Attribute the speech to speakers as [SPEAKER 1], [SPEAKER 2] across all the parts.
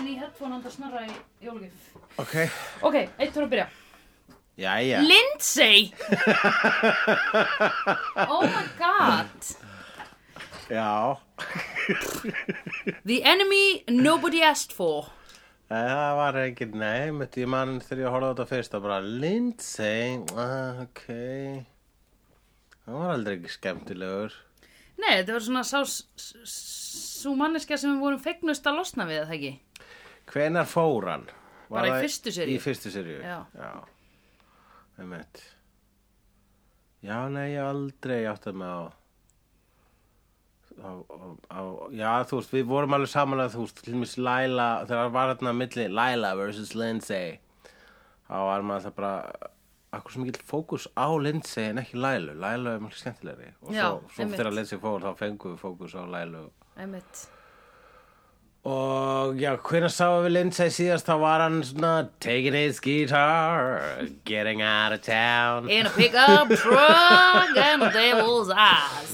[SPEAKER 1] handa snorra í jólugjöf.
[SPEAKER 2] Ok.
[SPEAKER 1] Ok, eitt voru að byrja.
[SPEAKER 2] Jæja.
[SPEAKER 1] Lindsay! oh my god!
[SPEAKER 2] Já.
[SPEAKER 1] The enemy nobody asked for.
[SPEAKER 2] Nei, Það var ekki, nei, mitt ég mann þegar ég horfði á þetta fyrst og bara Lindsay, ah, ok. Það var aldrei ekki skemmtilegur.
[SPEAKER 1] Nei, þetta var svona sá svo manneska sem við vorum fegnust að losna við, eða það ekki?
[SPEAKER 2] Hvenar fór hann? Var
[SPEAKER 1] Bara í
[SPEAKER 2] það
[SPEAKER 1] fyrstu seríu?
[SPEAKER 2] Í fyrstu seríu,
[SPEAKER 1] Já.
[SPEAKER 2] Já, einmitt. Já, nei, ég aldrei átti með á, á, á, á, já, þú veist, við vorum alveg saman að, þú veist, til mér Laila, þegar hann var hérna að milli, Laila versus Lindsay, þá var maður það bara, akkur sem ekki fókus á Lindsay en ekki Lailu, Lailu er mjög skemmtilegri og
[SPEAKER 1] Já,
[SPEAKER 2] svo, svo
[SPEAKER 1] einmitt.
[SPEAKER 2] þegar Lindsay fór þá fengum við fókus á Lailu
[SPEAKER 1] Einmitt.
[SPEAKER 2] Og já, hvernig sáum við Lindsay síðast, þá var hann svona Taking his guitar, getting out of town
[SPEAKER 1] In a pickup truck and the devil's eyes.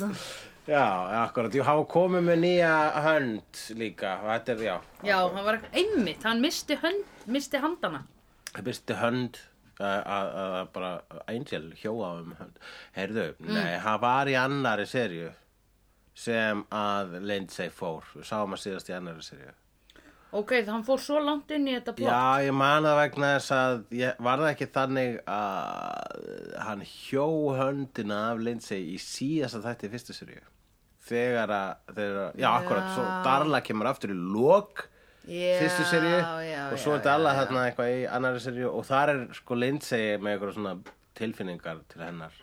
[SPEAKER 2] Já, akkurat, jú, hann komið með nýja hönd líka, og þetta er, já
[SPEAKER 1] Já, hann var einmitt, hann misti, hönd, misti handana.
[SPEAKER 2] Það byrsti hönd að- að að bara Angel hjóa um hönd Heyrðu, nei, hann var í annari serju sem að Lindsay fór Við sáum hann síðast í annari serju
[SPEAKER 1] Ok, það hann fór svo langt inn í þetta plott.
[SPEAKER 2] Já, ég man það vegna þess að ég, var það ekki þannig að hann hjó höndina af Lindsay í síðasta þætti í fyrstu seríu þegar að, þegar að, já, akkurat, svo Darla kemur aftur í lok
[SPEAKER 1] Já,
[SPEAKER 2] fyrstu seríu
[SPEAKER 1] já,
[SPEAKER 2] og
[SPEAKER 1] já,
[SPEAKER 2] svo er Darla þarna eitthvað í annari seríu og þar er sko Lindsay með eitthvað svona tilfinningar til hennar,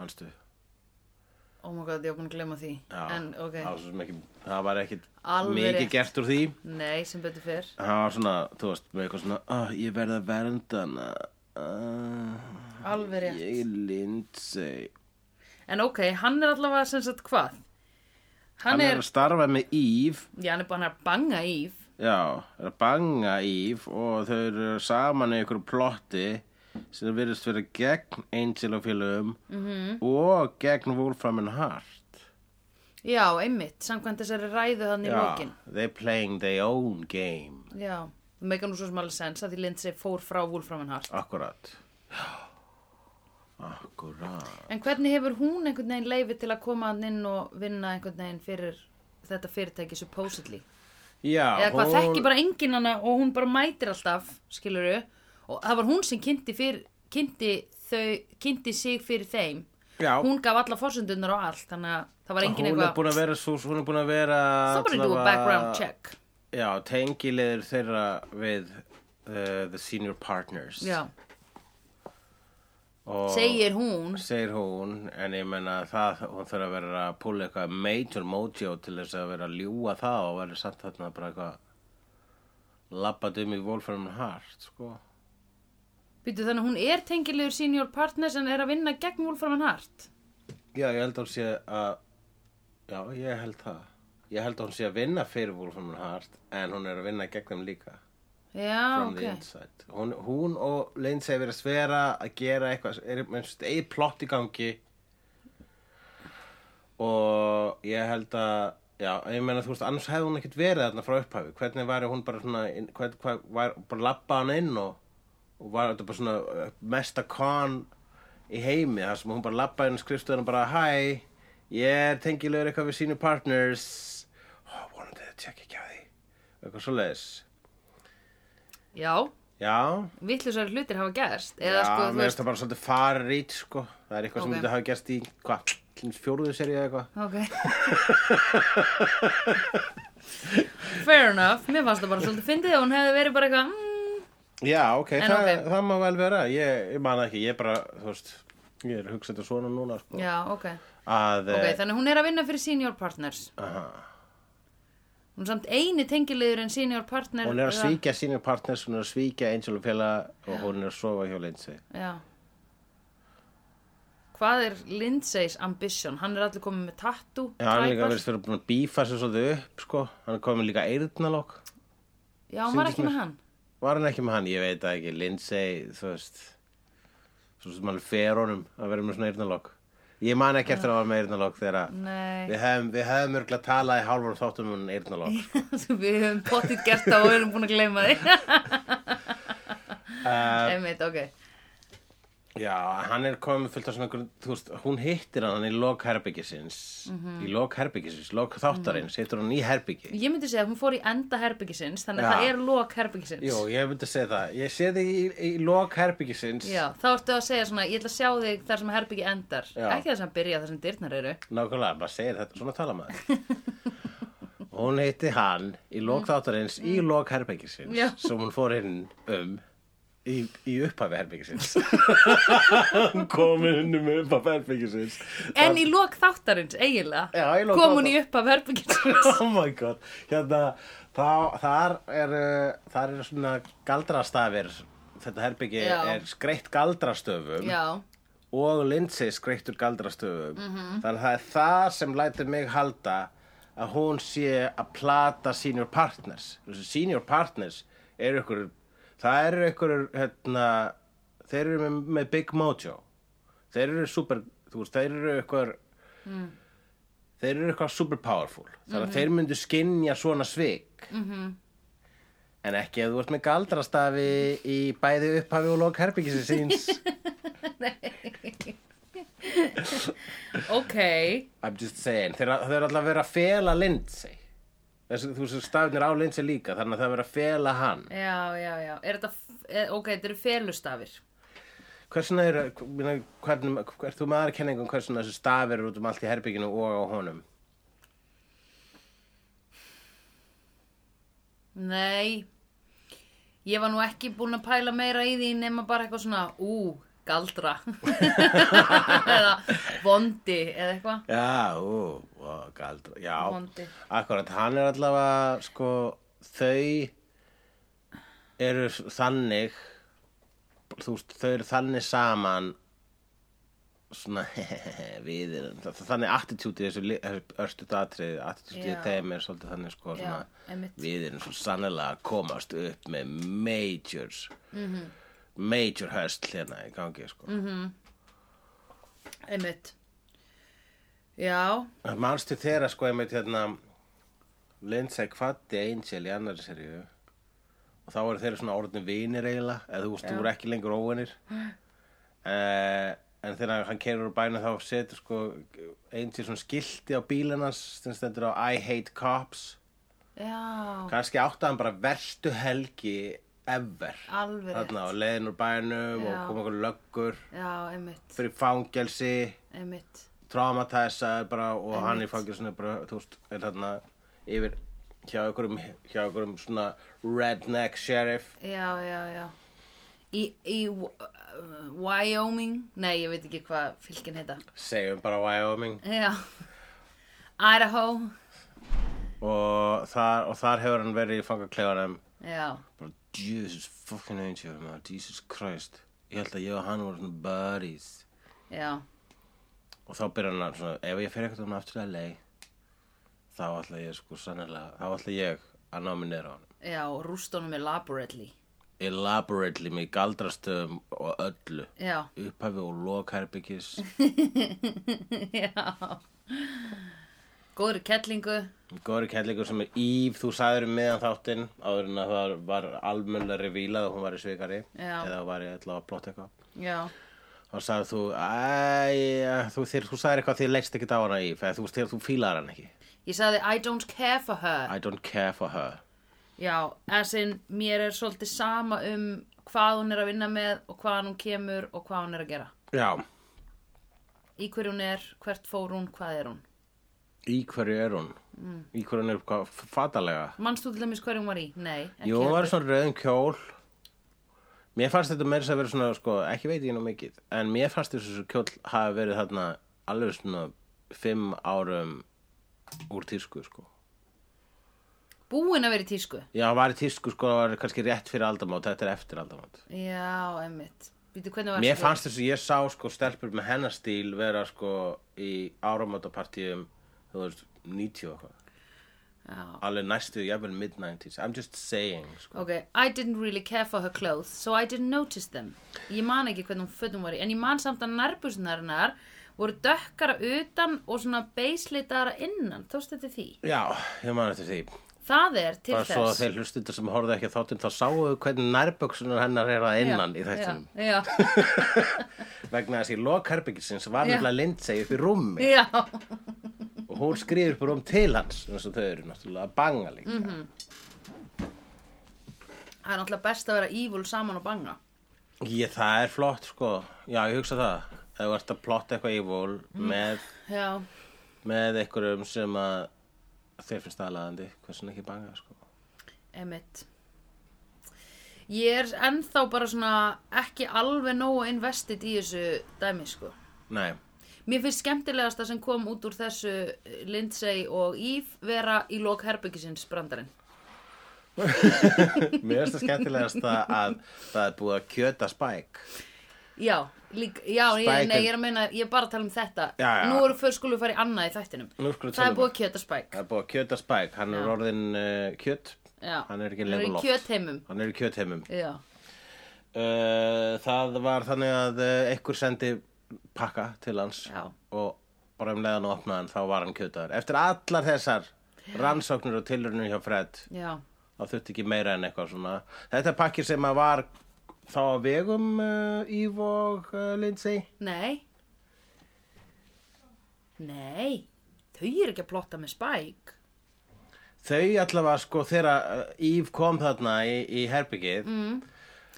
[SPEAKER 2] manstu?
[SPEAKER 1] Oh my god, ég var búin að glema því.
[SPEAKER 2] Já,
[SPEAKER 1] en, ok.
[SPEAKER 2] það, var svo sem ekki, það var ekkit
[SPEAKER 1] Alveg
[SPEAKER 2] mikið
[SPEAKER 1] rétt.
[SPEAKER 2] gert úr því.
[SPEAKER 1] Nei, sem betur fyrr.
[SPEAKER 2] Það var svona, þú veist, með eitthvað svona oh, Ég verð að vernda hana uh,
[SPEAKER 1] Alveg rétt.
[SPEAKER 2] Ég er Lindsay
[SPEAKER 1] En ok, hann er allavega sem sagt hvað? Hann,
[SPEAKER 2] Hann er
[SPEAKER 1] er,
[SPEAKER 2] að starfa með Eve
[SPEAKER 1] já, hann er bara hann er að banga í.
[SPEAKER 2] Já, er að banga Eve Og þau eru saman í einhverju plotti Sem virðist vera gegn Angel og félögum
[SPEAKER 1] Mhm.
[SPEAKER 2] -hmm. Og gegn Wolfram and Heart
[SPEAKER 1] Já, einmitt, samkvæmt þessari ræðu hann í lókin.
[SPEAKER 2] They playing their own game
[SPEAKER 1] Já, það meikar nú svo sem alveg sens að því Lindsay fór frá Wolfram and Hart.
[SPEAKER 2] Akkurat Akkurat
[SPEAKER 1] En hvernig hefur hún einhvern veginn leifi til að koma hann inn og vinna einhvern veginn fyrir þetta fyrirtæki supposedly?
[SPEAKER 2] Já,
[SPEAKER 1] Eða hvað, þekki bara enginn hana og hún bara mætir alltaf, skiluru, og það var hún sem kynnti, fyrir, kynnti, þau, kynnti sig fyrir þeim.
[SPEAKER 2] Já.
[SPEAKER 1] Hún gaf alla forsendunar og allt, þannig að það var enginn
[SPEAKER 2] hún er
[SPEAKER 1] eitthvað...
[SPEAKER 2] búin að vera svo, hún er búin að vera
[SPEAKER 1] Somebody do a
[SPEAKER 2] allavega-
[SPEAKER 1] background check.
[SPEAKER 2] já, tengilegður þeirra við uh, the senior partners
[SPEAKER 1] Já,
[SPEAKER 2] og
[SPEAKER 1] segir hún.
[SPEAKER 2] segir hún en ég menna það, hún þarf að vera að púla eitthvað major mojo til þess að vera að ljúga það og vera samt þarna bara eitthvað labbat um í Wolfram and Heart sko.
[SPEAKER 1] Býtu þannig að hún er tengilegur senior partners en er að vinna gegn Wolfram and Hart.
[SPEAKER 2] já, ég held að hún sé að já, ég held það ég held að hún sé að vinna fyrir Wolfram and Heart en hún er að vinna gegn þeim líka
[SPEAKER 1] Já,
[SPEAKER 2] from the
[SPEAKER 1] Ah, ok.
[SPEAKER 2] inside hún, hún og Lindsay verið að svera að gera eitthvað er einn plott í gangi og ég held að já, ég meina þú veist, annars hefði hún ekkert verið þarna frá upphafi, hvernig væri hún bara svona inn- hvern, hvað, var, bara labba hann inn og, og var þetta bara svona uh, mesta kon í heimi þar sem hún bara labba inn skrifstuðan og bara hæ, ég er tengilegur eitthvað við sínu partners og vonandi þið tjekki ekki á því eitthvað svoleiðis
[SPEAKER 1] Já,
[SPEAKER 2] Já,
[SPEAKER 1] vittlusar hlutir hafa gerst.
[SPEAKER 2] Já,
[SPEAKER 1] Eða sko, þú
[SPEAKER 2] mér finnst
[SPEAKER 1] veist...
[SPEAKER 2] það bara svolítið farrít sko. Það er eitthvað sem
[SPEAKER 1] Ok.
[SPEAKER 2] myndi hafa gerst í hvað, fjóruðu serið eða eitthvað
[SPEAKER 1] Ok. Fair enough. Mér fannst það bara svolítið fyndið og hún hefði verið bara eitthvað... Mm,
[SPEAKER 2] Já, ok,
[SPEAKER 1] En
[SPEAKER 2] það,
[SPEAKER 1] ok.
[SPEAKER 2] það má vel vera Ég, ég man það ekki, ég bara, þú veist Ég er að hugsa þetta svona núna sko.
[SPEAKER 1] já, ok.
[SPEAKER 2] Að,
[SPEAKER 1] Ok,
[SPEAKER 2] eh,
[SPEAKER 1] þannig að hún er að vinna fyrir senior partners.
[SPEAKER 2] aha,
[SPEAKER 1] Hún er samt eini tengilegur en senior partner...
[SPEAKER 2] Hún er að
[SPEAKER 1] eða-
[SPEAKER 2] svíkja sínir partners Hún er að svíkja Angel og félaga Og hún er að sofa hjá Lindsay
[SPEAKER 1] Já. Hvað er Lindsay's ambition? Hann er allir komið með tattoo.
[SPEAKER 2] Já, hann er líka
[SPEAKER 1] tæpast.
[SPEAKER 2] verið fyrir búin að bífa sér svolítið upp sko. Hann er komið líka eyrnalokk
[SPEAKER 1] Já, hann var
[SPEAKER 2] sýndist
[SPEAKER 1] ekki með
[SPEAKER 2] mér.
[SPEAKER 1] hann.
[SPEAKER 2] Var hann ekki með hann, ég veit það ekki Lindsay, þú veist Svo sem hann fer honum að vera með svona eyrnalokk Ég man ekki eftir að það var með eyrnalokk þegar að
[SPEAKER 1] Nei.
[SPEAKER 2] við hefum, við hefum örgulega talað í hálfur þáttum um eyrnalokk.
[SPEAKER 1] við höfum pottit gert það og við erum búin að gleyma því einmitt, ok
[SPEAKER 2] Eh, Já, hann er komið fullt af svona einhverjum, þú veist, hún hittir hann í lok herbyggisins, í lok herbyggisins, lok þáttarins, hittir hún í herbyggi.
[SPEAKER 1] ég myndi segja að hún fór í enda herbyggisins þannig að
[SPEAKER 2] Já.
[SPEAKER 1] það er lok herbyggisins
[SPEAKER 2] Jú, ég myndi segja það. Ég sé þig í, í lok herbyggisins,
[SPEAKER 1] Já, þá ertu að segja svona, ég ætla að sjá þig þar sem herbyggi endar
[SPEAKER 2] Já.
[SPEAKER 1] ekki þar sem hann byrja þar sem dyrnar eru
[SPEAKER 2] nákvæmlega, bara segir þetta, svona tala maður. Og hún hitti hann í lok þáttarins, í lok herbyggisins,
[SPEAKER 1] Mm. Já.
[SPEAKER 2] sem hún fór inn um í, í upphafi herbyggisins. hún kom inn um upphafi herbyggisins.
[SPEAKER 1] en í lok þáttarins eiginlega
[SPEAKER 2] Já, í lok
[SPEAKER 1] kom hún í
[SPEAKER 2] þáttar-
[SPEAKER 1] upp af herbyggisins
[SPEAKER 2] oh my god hérna, þá, þar eru þar eru svona galdrastafir þetta herbyggi
[SPEAKER 1] Já.
[SPEAKER 2] er skreitt galdrastöfum
[SPEAKER 1] Já,
[SPEAKER 2] og Lindsay skreittur galdrastöfum -hmm. þannig að það er það sem lætur mig halda að hún sé að plata senior partners Þessi senior partners eru ykkur það eru ykkur hérna, þeir eru með, með big mojo þeir eru super þú veist, þeir eru ykkur þeir eru eitthvað super powerful þannig að þeir myndu skinja svona svik mm -hmm. en ekki ef þú ert með galdrastafi í bæði upphafi og lók herbyggisins síns
[SPEAKER 1] ok
[SPEAKER 2] I'm just saying, þeir, þeir eru alltaf að vera að fela Lindsay Þessu, þú veist, stafnir á Lindsay líka þannig að það er verið að fela hann
[SPEAKER 1] Já, já, já, er þetta, f- er, ok, þetta eru felustafir
[SPEAKER 2] Hversna er, hvernig, hvernig, er þú með aðra um kenningum hversna þessu stafir eru út um allt í herbygginu og á honum
[SPEAKER 1] Nei, ég var nú ekki búin að pæla meira í því nema bara eitthvað svona, ú, galdra eða vondi eða eitthvað
[SPEAKER 2] Já, ú, ó, galdra, já
[SPEAKER 1] Vondi.
[SPEAKER 2] Akkurat, hann er alltaf að, sko, þau eru þannig þú veist, þau eru þannig saman svona við erum, þa- þa- þannig attitúti þessu, li- þessu örstu datrið attitúti
[SPEAKER 1] Já.
[SPEAKER 2] þeim er svolítið þannig sko
[SPEAKER 1] Já,
[SPEAKER 2] svona,
[SPEAKER 1] einmitt.
[SPEAKER 2] við erum svo sannlega að komast upp með majors
[SPEAKER 1] Mhm.
[SPEAKER 2] major höst hérna í gangi sko mm
[SPEAKER 1] einmitt Já,
[SPEAKER 2] -hmm. manstu þeirra sko einmitt hérna Lindsay kvatti Angel í annari seríu og þá eru þeirra svona orðin vinir eiginlega eða þú veist, þú eru ekki lengur óvinir uh, en þegar hann kerur úr bænum þá setur sko Angel svona skilti á bílinnans sem stendur á I hate cops
[SPEAKER 1] já,
[SPEAKER 2] kannski átti hann bara verstu helgi ever
[SPEAKER 1] Alveg rétt.
[SPEAKER 2] þarna á leiðin úr bænum og
[SPEAKER 1] Já.
[SPEAKER 2] kom okkur löggur
[SPEAKER 1] já, einmitt,
[SPEAKER 2] fyrir fangelsi
[SPEAKER 1] einmitt
[SPEAKER 2] traumatisaður bara og hann í
[SPEAKER 1] Einmitt.
[SPEAKER 2] fangelsinu bara, þú veist, er þarna yfir hjá einhverjum, hjá einhverjum svona redneck sheriff
[SPEAKER 1] Já, já, já. Í, í uh, Wyoming? Nei, ég veit ekki hvað fylkin heita.
[SPEAKER 2] segjum bara Wyoming
[SPEAKER 1] Já. Idaho?
[SPEAKER 2] og þar, og þar hefur hann verið í fangakleifanum
[SPEAKER 1] Já.
[SPEAKER 2] bara Jesus fucking angel man, Jesus Christ ég held að ég og hann voru svona buddies
[SPEAKER 1] Já.
[SPEAKER 2] og þá byrjar hann að svona, ef ég fer eitthvað um aftur að leið þá ætla ég sko sannlega þá ætla ég að ná mig niður á hann
[SPEAKER 1] Já, rústónum elaborately.
[SPEAKER 2] elaborately með galdrastöðum og öllu
[SPEAKER 1] Já.
[SPEAKER 2] upphafi og lokherbyggis
[SPEAKER 1] já. Góður í kettlingu.
[SPEAKER 2] Góri Kellingur sem er Íf, þú sagður um meðan þáttinn áður en að það var almennlega revílað og hún var í svikari
[SPEAKER 1] Já.
[SPEAKER 2] eða var í allavega að plotta eitthvað
[SPEAKER 1] Já.
[SPEAKER 2] þá sagði þú, æ, þú, þér, þú sagðir eitthvað því leist ekki á hana Íf eða þú, þér, þú fílar hann ekki
[SPEAKER 1] Ég sagði I don't care for her.
[SPEAKER 2] I don't care for her
[SPEAKER 1] Já, as in mér er svolítið sama um hvað hún er að vinna með og hvaðan hún kemur og hvað hún er að gera.
[SPEAKER 2] Já,
[SPEAKER 1] Í hverju hún er, hvert fór hún, hvað er hún.
[SPEAKER 2] í hverju er hún? Í hverju hún er hvað, fatalega?
[SPEAKER 1] Manst þú til dæmis hverju hún var í? Nei, ekki
[SPEAKER 2] Jú, hún
[SPEAKER 1] heldur.
[SPEAKER 2] var í svona rauðum kjól Mér fannst þetta meira að vera svona sko, ekki veit ég nú mikið en mér fannst þessu kjól hafa verið þarna alveg svona fimm árum úr tísku sko.
[SPEAKER 1] Búin að vera í tísku?
[SPEAKER 2] Já, hann var í tísku sko, það var kannski rétt fyrir aldamót þetta er eftir aldamót
[SPEAKER 1] Já, emmitt. Býtu, hvernig var
[SPEAKER 2] Mér
[SPEAKER 1] þessi-
[SPEAKER 2] fannst þessu, ég sá sko stelpur með hennar stíl vera sko í áramótapartíum þú veist, 90 og eitthvað
[SPEAKER 1] Já.
[SPEAKER 2] alveg næstu, jafnvel mid-90s I'm just saying sko.
[SPEAKER 1] Ok, I didn't really care for her clothes, so I didn't notice them. Ég man ekki hvernig hún fötum var í, en ég man samt að nærbusnarinnar voru dökkara utan og svona beislitaðara innan, tókst þetta því?
[SPEAKER 2] Já, ég man eftir því.
[SPEAKER 1] Það er til
[SPEAKER 2] Bara
[SPEAKER 1] þess.
[SPEAKER 2] svo að þeir hlustundur sem horfðu ekki á þáttinn þá sáu hvernig nærböksunar hennar er að innan í þættinum.
[SPEAKER 1] Já,
[SPEAKER 2] Vegna þess í lokherbyggisins var
[SPEAKER 1] Já.
[SPEAKER 2] nefnilega Lindsay upp í rúmi.
[SPEAKER 1] já, já.
[SPEAKER 2] og hún skrifur bara um til hans eins og þau eru náttúrulega að banga líka
[SPEAKER 1] Mm. Það er náttúrulega best að vera evil saman og banga.
[SPEAKER 2] ég, það er flott sko já ég hugsa það ef þú ert að plotta eitthvað evil
[SPEAKER 1] Mm.
[SPEAKER 2] með,
[SPEAKER 1] Já,
[SPEAKER 2] með einhverjum sem að þeir finnst aðlaðandi hversin ekki banga sko
[SPEAKER 1] emitt. Ég er ennþá bara svona ekki alveg nógu investið í þessu dæmi, sko.
[SPEAKER 2] nei,
[SPEAKER 1] Mér finnst skemmtilegasta sem kom út úr þessu eh, Lindsay og Eve vera í lok herbyggisins brandarinn.
[SPEAKER 2] mér finnst það skemmtilegast að, að það er búið að kjöta spæk
[SPEAKER 1] Já, lík, já ég,
[SPEAKER 2] Spike
[SPEAKER 1] nei,
[SPEAKER 2] and-
[SPEAKER 1] ég er að meina, ég er bara að tala um þetta.
[SPEAKER 2] Já, já.
[SPEAKER 1] Nú eru fyrst skulum við fara í annað í þættinum.
[SPEAKER 2] Nú skulum við
[SPEAKER 1] það
[SPEAKER 2] tala
[SPEAKER 1] er
[SPEAKER 2] um
[SPEAKER 1] búið að kjöta spæk.
[SPEAKER 2] það er búið að kjöta spæk hann er orðin uh, kjött
[SPEAKER 1] Já.
[SPEAKER 2] hann er ekki
[SPEAKER 1] Hann er
[SPEAKER 2] lengur
[SPEAKER 1] í
[SPEAKER 2] loft
[SPEAKER 1] kjötheimum.
[SPEAKER 2] hann er í kjötheimum
[SPEAKER 1] Já,
[SPEAKER 2] Uh, það var þannig að uh, einhver sendi pakka til hans
[SPEAKER 1] Já.
[SPEAKER 2] og bara um leiðan og opnaðan þá var hann kjötaður. Eftir allar þessar rannsóknir og tilurinu hjá Fred
[SPEAKER 1] já,
[SPEAKER 2] þá þurfti ekki meira en eitthvað svona. Þetta er pakki sem að var þá að vegum uh, Ív og uh, Lindsay.
[SPEAKER 1] nei. Nei, þau eru ekki að plotta með spæk.
[SPEAKER 2] Þau allavega sko þegar uh, Ív kom þarna í, í herbyggið. Mm.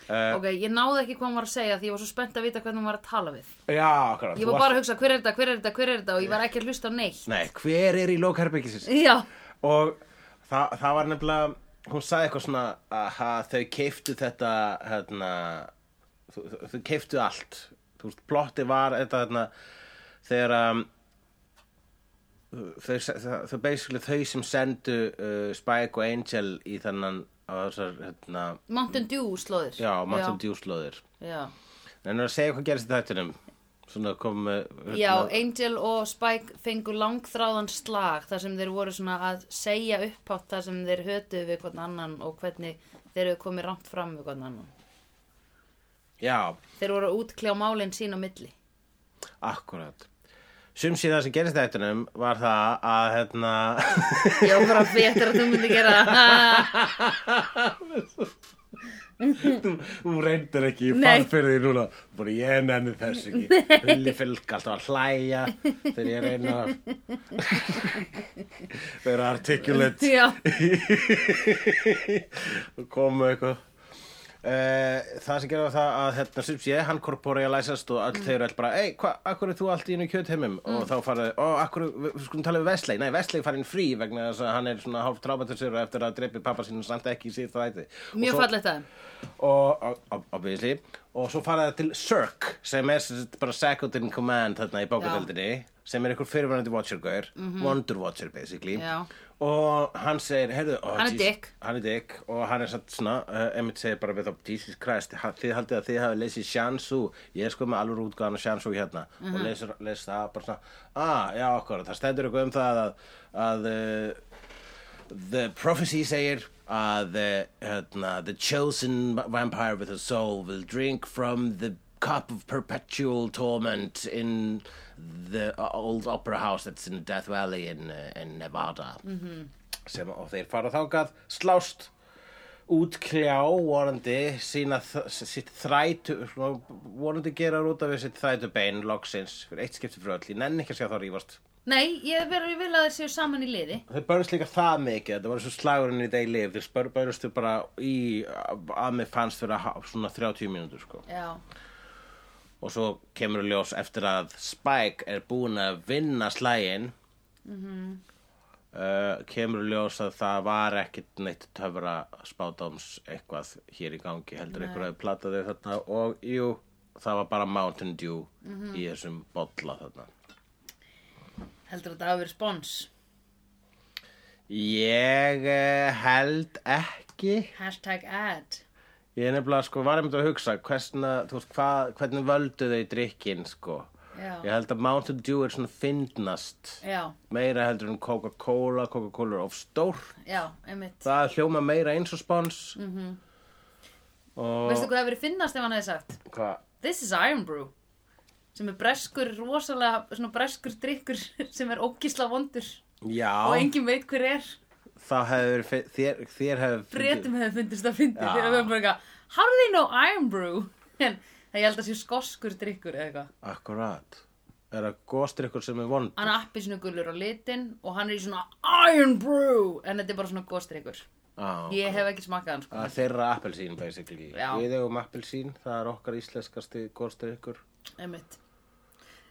[SPEAKER 1] ok, ég náði ekki hvað hann var að segja því ég var svo spennt að vita hvernig hann var að tala við.
[SPEAKER 2] Já, akkurat.
[SPEAKER 1] Ég var
[SPEAKER 2] þú varst-
[SPEAKER 1] bara að hugsa hver er þetta, hver er þetta, hver er þetta og ég var ekki að hlusta á neitt.
[SPEAKER 2] Nei, hver er í lók herbyggisins?
[SPEAKER 1] Já,
[SPEAKER 2] og það, það var nefnilega hún sagði eitthvað svona að þau keiftu þetta hérna, þau, þau- þau keiftu allt þú veist, plotti var þetta hérna, þegar um, þau, þau, þau basically þau sem sendu uh, Spike og Angel í þannan á þessar, hérna,
[SPEAKER 1] Mountain Dew slóðir.
[SPEAKER 2] já, Mountain Dew slóðir
[SPEAKER 1] Dew. Já,
[SPEAKER 2] en að segja hvað gerist í þættinum svona kom uh, hérna,
[SPEAKER 1] já Angel og Spike fengu langþráðan slag þar sem þeir voru svona að segja upphátt þar sem þeir hötuðu við hvern annan og hvernig þeir eru komið rámt fram við hvern annan.
[SPEAKER 2] já,
[SPEAKER 1] Þeir voru að útkljá málinn sín á milli.
[SPEAKER 2] akkurat sum sé það sem gerist í þættinum var það að hérna
[SPEAKER 1] Ég var bara betur að þú myndi gera það.
[SPEAKER 2] Þú reyndir ekki, ég
[SPEAKER 1] Nei.
[SPEAKER 2] fann fyrir því núna Bara ég nenni þess ekki Hulli fylg alltaf að hlæja Þegar ég reyna að Vera articulate
[SPEAKER 1] Já,
[SPEAKER 2] Og komu eitthvað Uh, það sem gerði það að hérna sem sé, hann korpóri að læsast og all þau eru all bara, ei, hvað, akkur er þú allt í einu kjöt heimum og þá faraði, ó, akkur við við skulum tala við Vesley, nei, Vesley farinn frí vegna þess að hann er svona hálf traumatisur eftir að dreipi pappa sínum samt ekki í síð þætti Og
[SPEAKER 1] mjög
[SPEAKER 2] svo-
[SPEAKER 1] fallegt aðeim.
[SPEAKER 2] og ob- ob- obviously og svo fara það til Cirque sem er sem sagt bara second in command þarna í bókadeldinni sem er einhver fyrirvænandi watcher-gaur wonder watcher basically
[SPEAKER 1] Mhm. Já.
[SPEAKER 2] og hann segir heyrðu, oh,
[SPEAKER 1] Hann er
[SPEAKER 2] Jesus-
[SPEAKER 1] dick.
[SPEAKER 2] hann er dick og hann er satt svona uh, Emmett segir bara við þá Jesus Christ ha- þið haldið að þið hafi lesið Shansu ég er sko með alveg útgáðan og Shansu hérna
[SPEAKER 1] Mhm.
[SPEAKER 2] og lesur, les það bara svona ah, já okkur, það stendur eitthvað um það að, að uh, The prophecy segir að the, hérna, the chosen vampire with a soul will drink from the cup of perpetual torment in the uh, old opera house that's in Death Valley in, uh, in Nevada sem, og þeir fara þangað slást útkljá vorandi sína, þ- sitt þrætu svona, vorandi gera út af sitt þrætu bein loksins fyrir eitt skipti fyrir öll ég nenni ekki að sjá þá rífast
[SPEAKER 1] Nei, ég verður vil að þeir séu saman í liði.
[SPEAKER 2] Þeir börjast líka það mikið, þetta var eins og slagurinn í degi lif, þeir spör- börjastu bara í, að mér fannst vera ha- svona 30 mínútur sko.
[SPEAKER 1] Já,
[SPEAKER 2] Og svo kemur í ljós eftir að Spike er búin að vinna slægin, uh, kemur í ljós að það var ekkit neitt töfra spádáms eitthvað hér í gangi, heldur einhver að plata þau þarna og jú, það var bara Mountain Dew í þessum bolla þarna.
[SPEAKER 1] heldur að það hafa verið spons.
[SPEAKER 2] Ég eh, held ekki...
[SPEAKER 1] Hashtag ad.
[SPEAKER 2] Ég er nefnilega sko var einmitt að hugsa hversna, þú veist, hvað, hvernig völdu þau drikkin sko.
[SPEAKER 1] Já.
[SPEAKER 2] Ég held að Mountain Dew er svona fyndnast.
[SPEAKER 1] Já,
[SPEAKER 2] Meira heldur en Coca-Cola, Coca-Cola er of stór.
[SPEAKER 1] já, einmitt.
[SPEAKER 2] Það hljóma meira eins og spons. Mm
[SPEAKER 1] Mhm.
[SPEAKER 2] -hmm. Og
[SPEAKER 1] Veistu hvað það hefur verið finnast ef hann hefði sagt?
[SPEAKER 2] hvað?
[SPEAKER 1] This is Iron Brew. sem er breskur, rosalega svona breskur drikkur sem er ógisla vondur og
[SPEAKER 2] Já,
[SPEAKER 1] enginn veit hver er
[SPEAKER 2] þá hefur verið, fi- þér, þér hefur
[SPEAKER 1] breytum hefur fundist að fyndi
[SPEAKER 2] Já.
[SPEAKER 1] þegar við erum bara eitthvað How do they know I'm brew? En það ég held að sé skoskur drikkur eða eitthvað
[SPEAKER 2] Akkurát. Er það góstrykkur sem er vond?
[SPEAKER 1] Hann er appi svona gulur á litin og hann er í svona Iron Brew en þetta er bara svona góðstrykkur
[SPEAKER 2] Á,
[SPEAKER 1] Ég hef ekki smakkað hann sko
[SPEAKER 2] Það er þeirra appelsín, basically.
[SPEAKER 1] Já.
[SPEAKER 2] Við eigum appelsín, það er okkar íslenskasti góstrykkur.
[SPEAKER 1] Einmitt.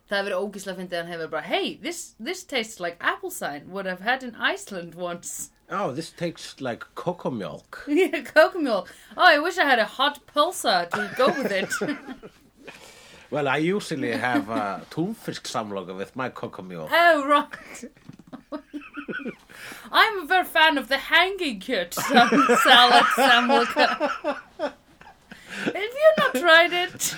[SPEAKER 1] Það hefur verið ógísla að fyndið hann hefur bara Hey, this, this tastes like apple sign what I've had in Iceland once
[SPEAKER 2] Oh, this takes like cocoa milk.
[SPEAKER 1] Yeah, Cocomule. Oh, I wish I had a hot pulsa to go with it.
[SPEAKER 2] Well, I usually have a túnfisk samloka with my cocoa milk.
[SPEAKER 1] oh, right. I'm a very fan of the hanging kit sam- salad samloka. Have you not tried it?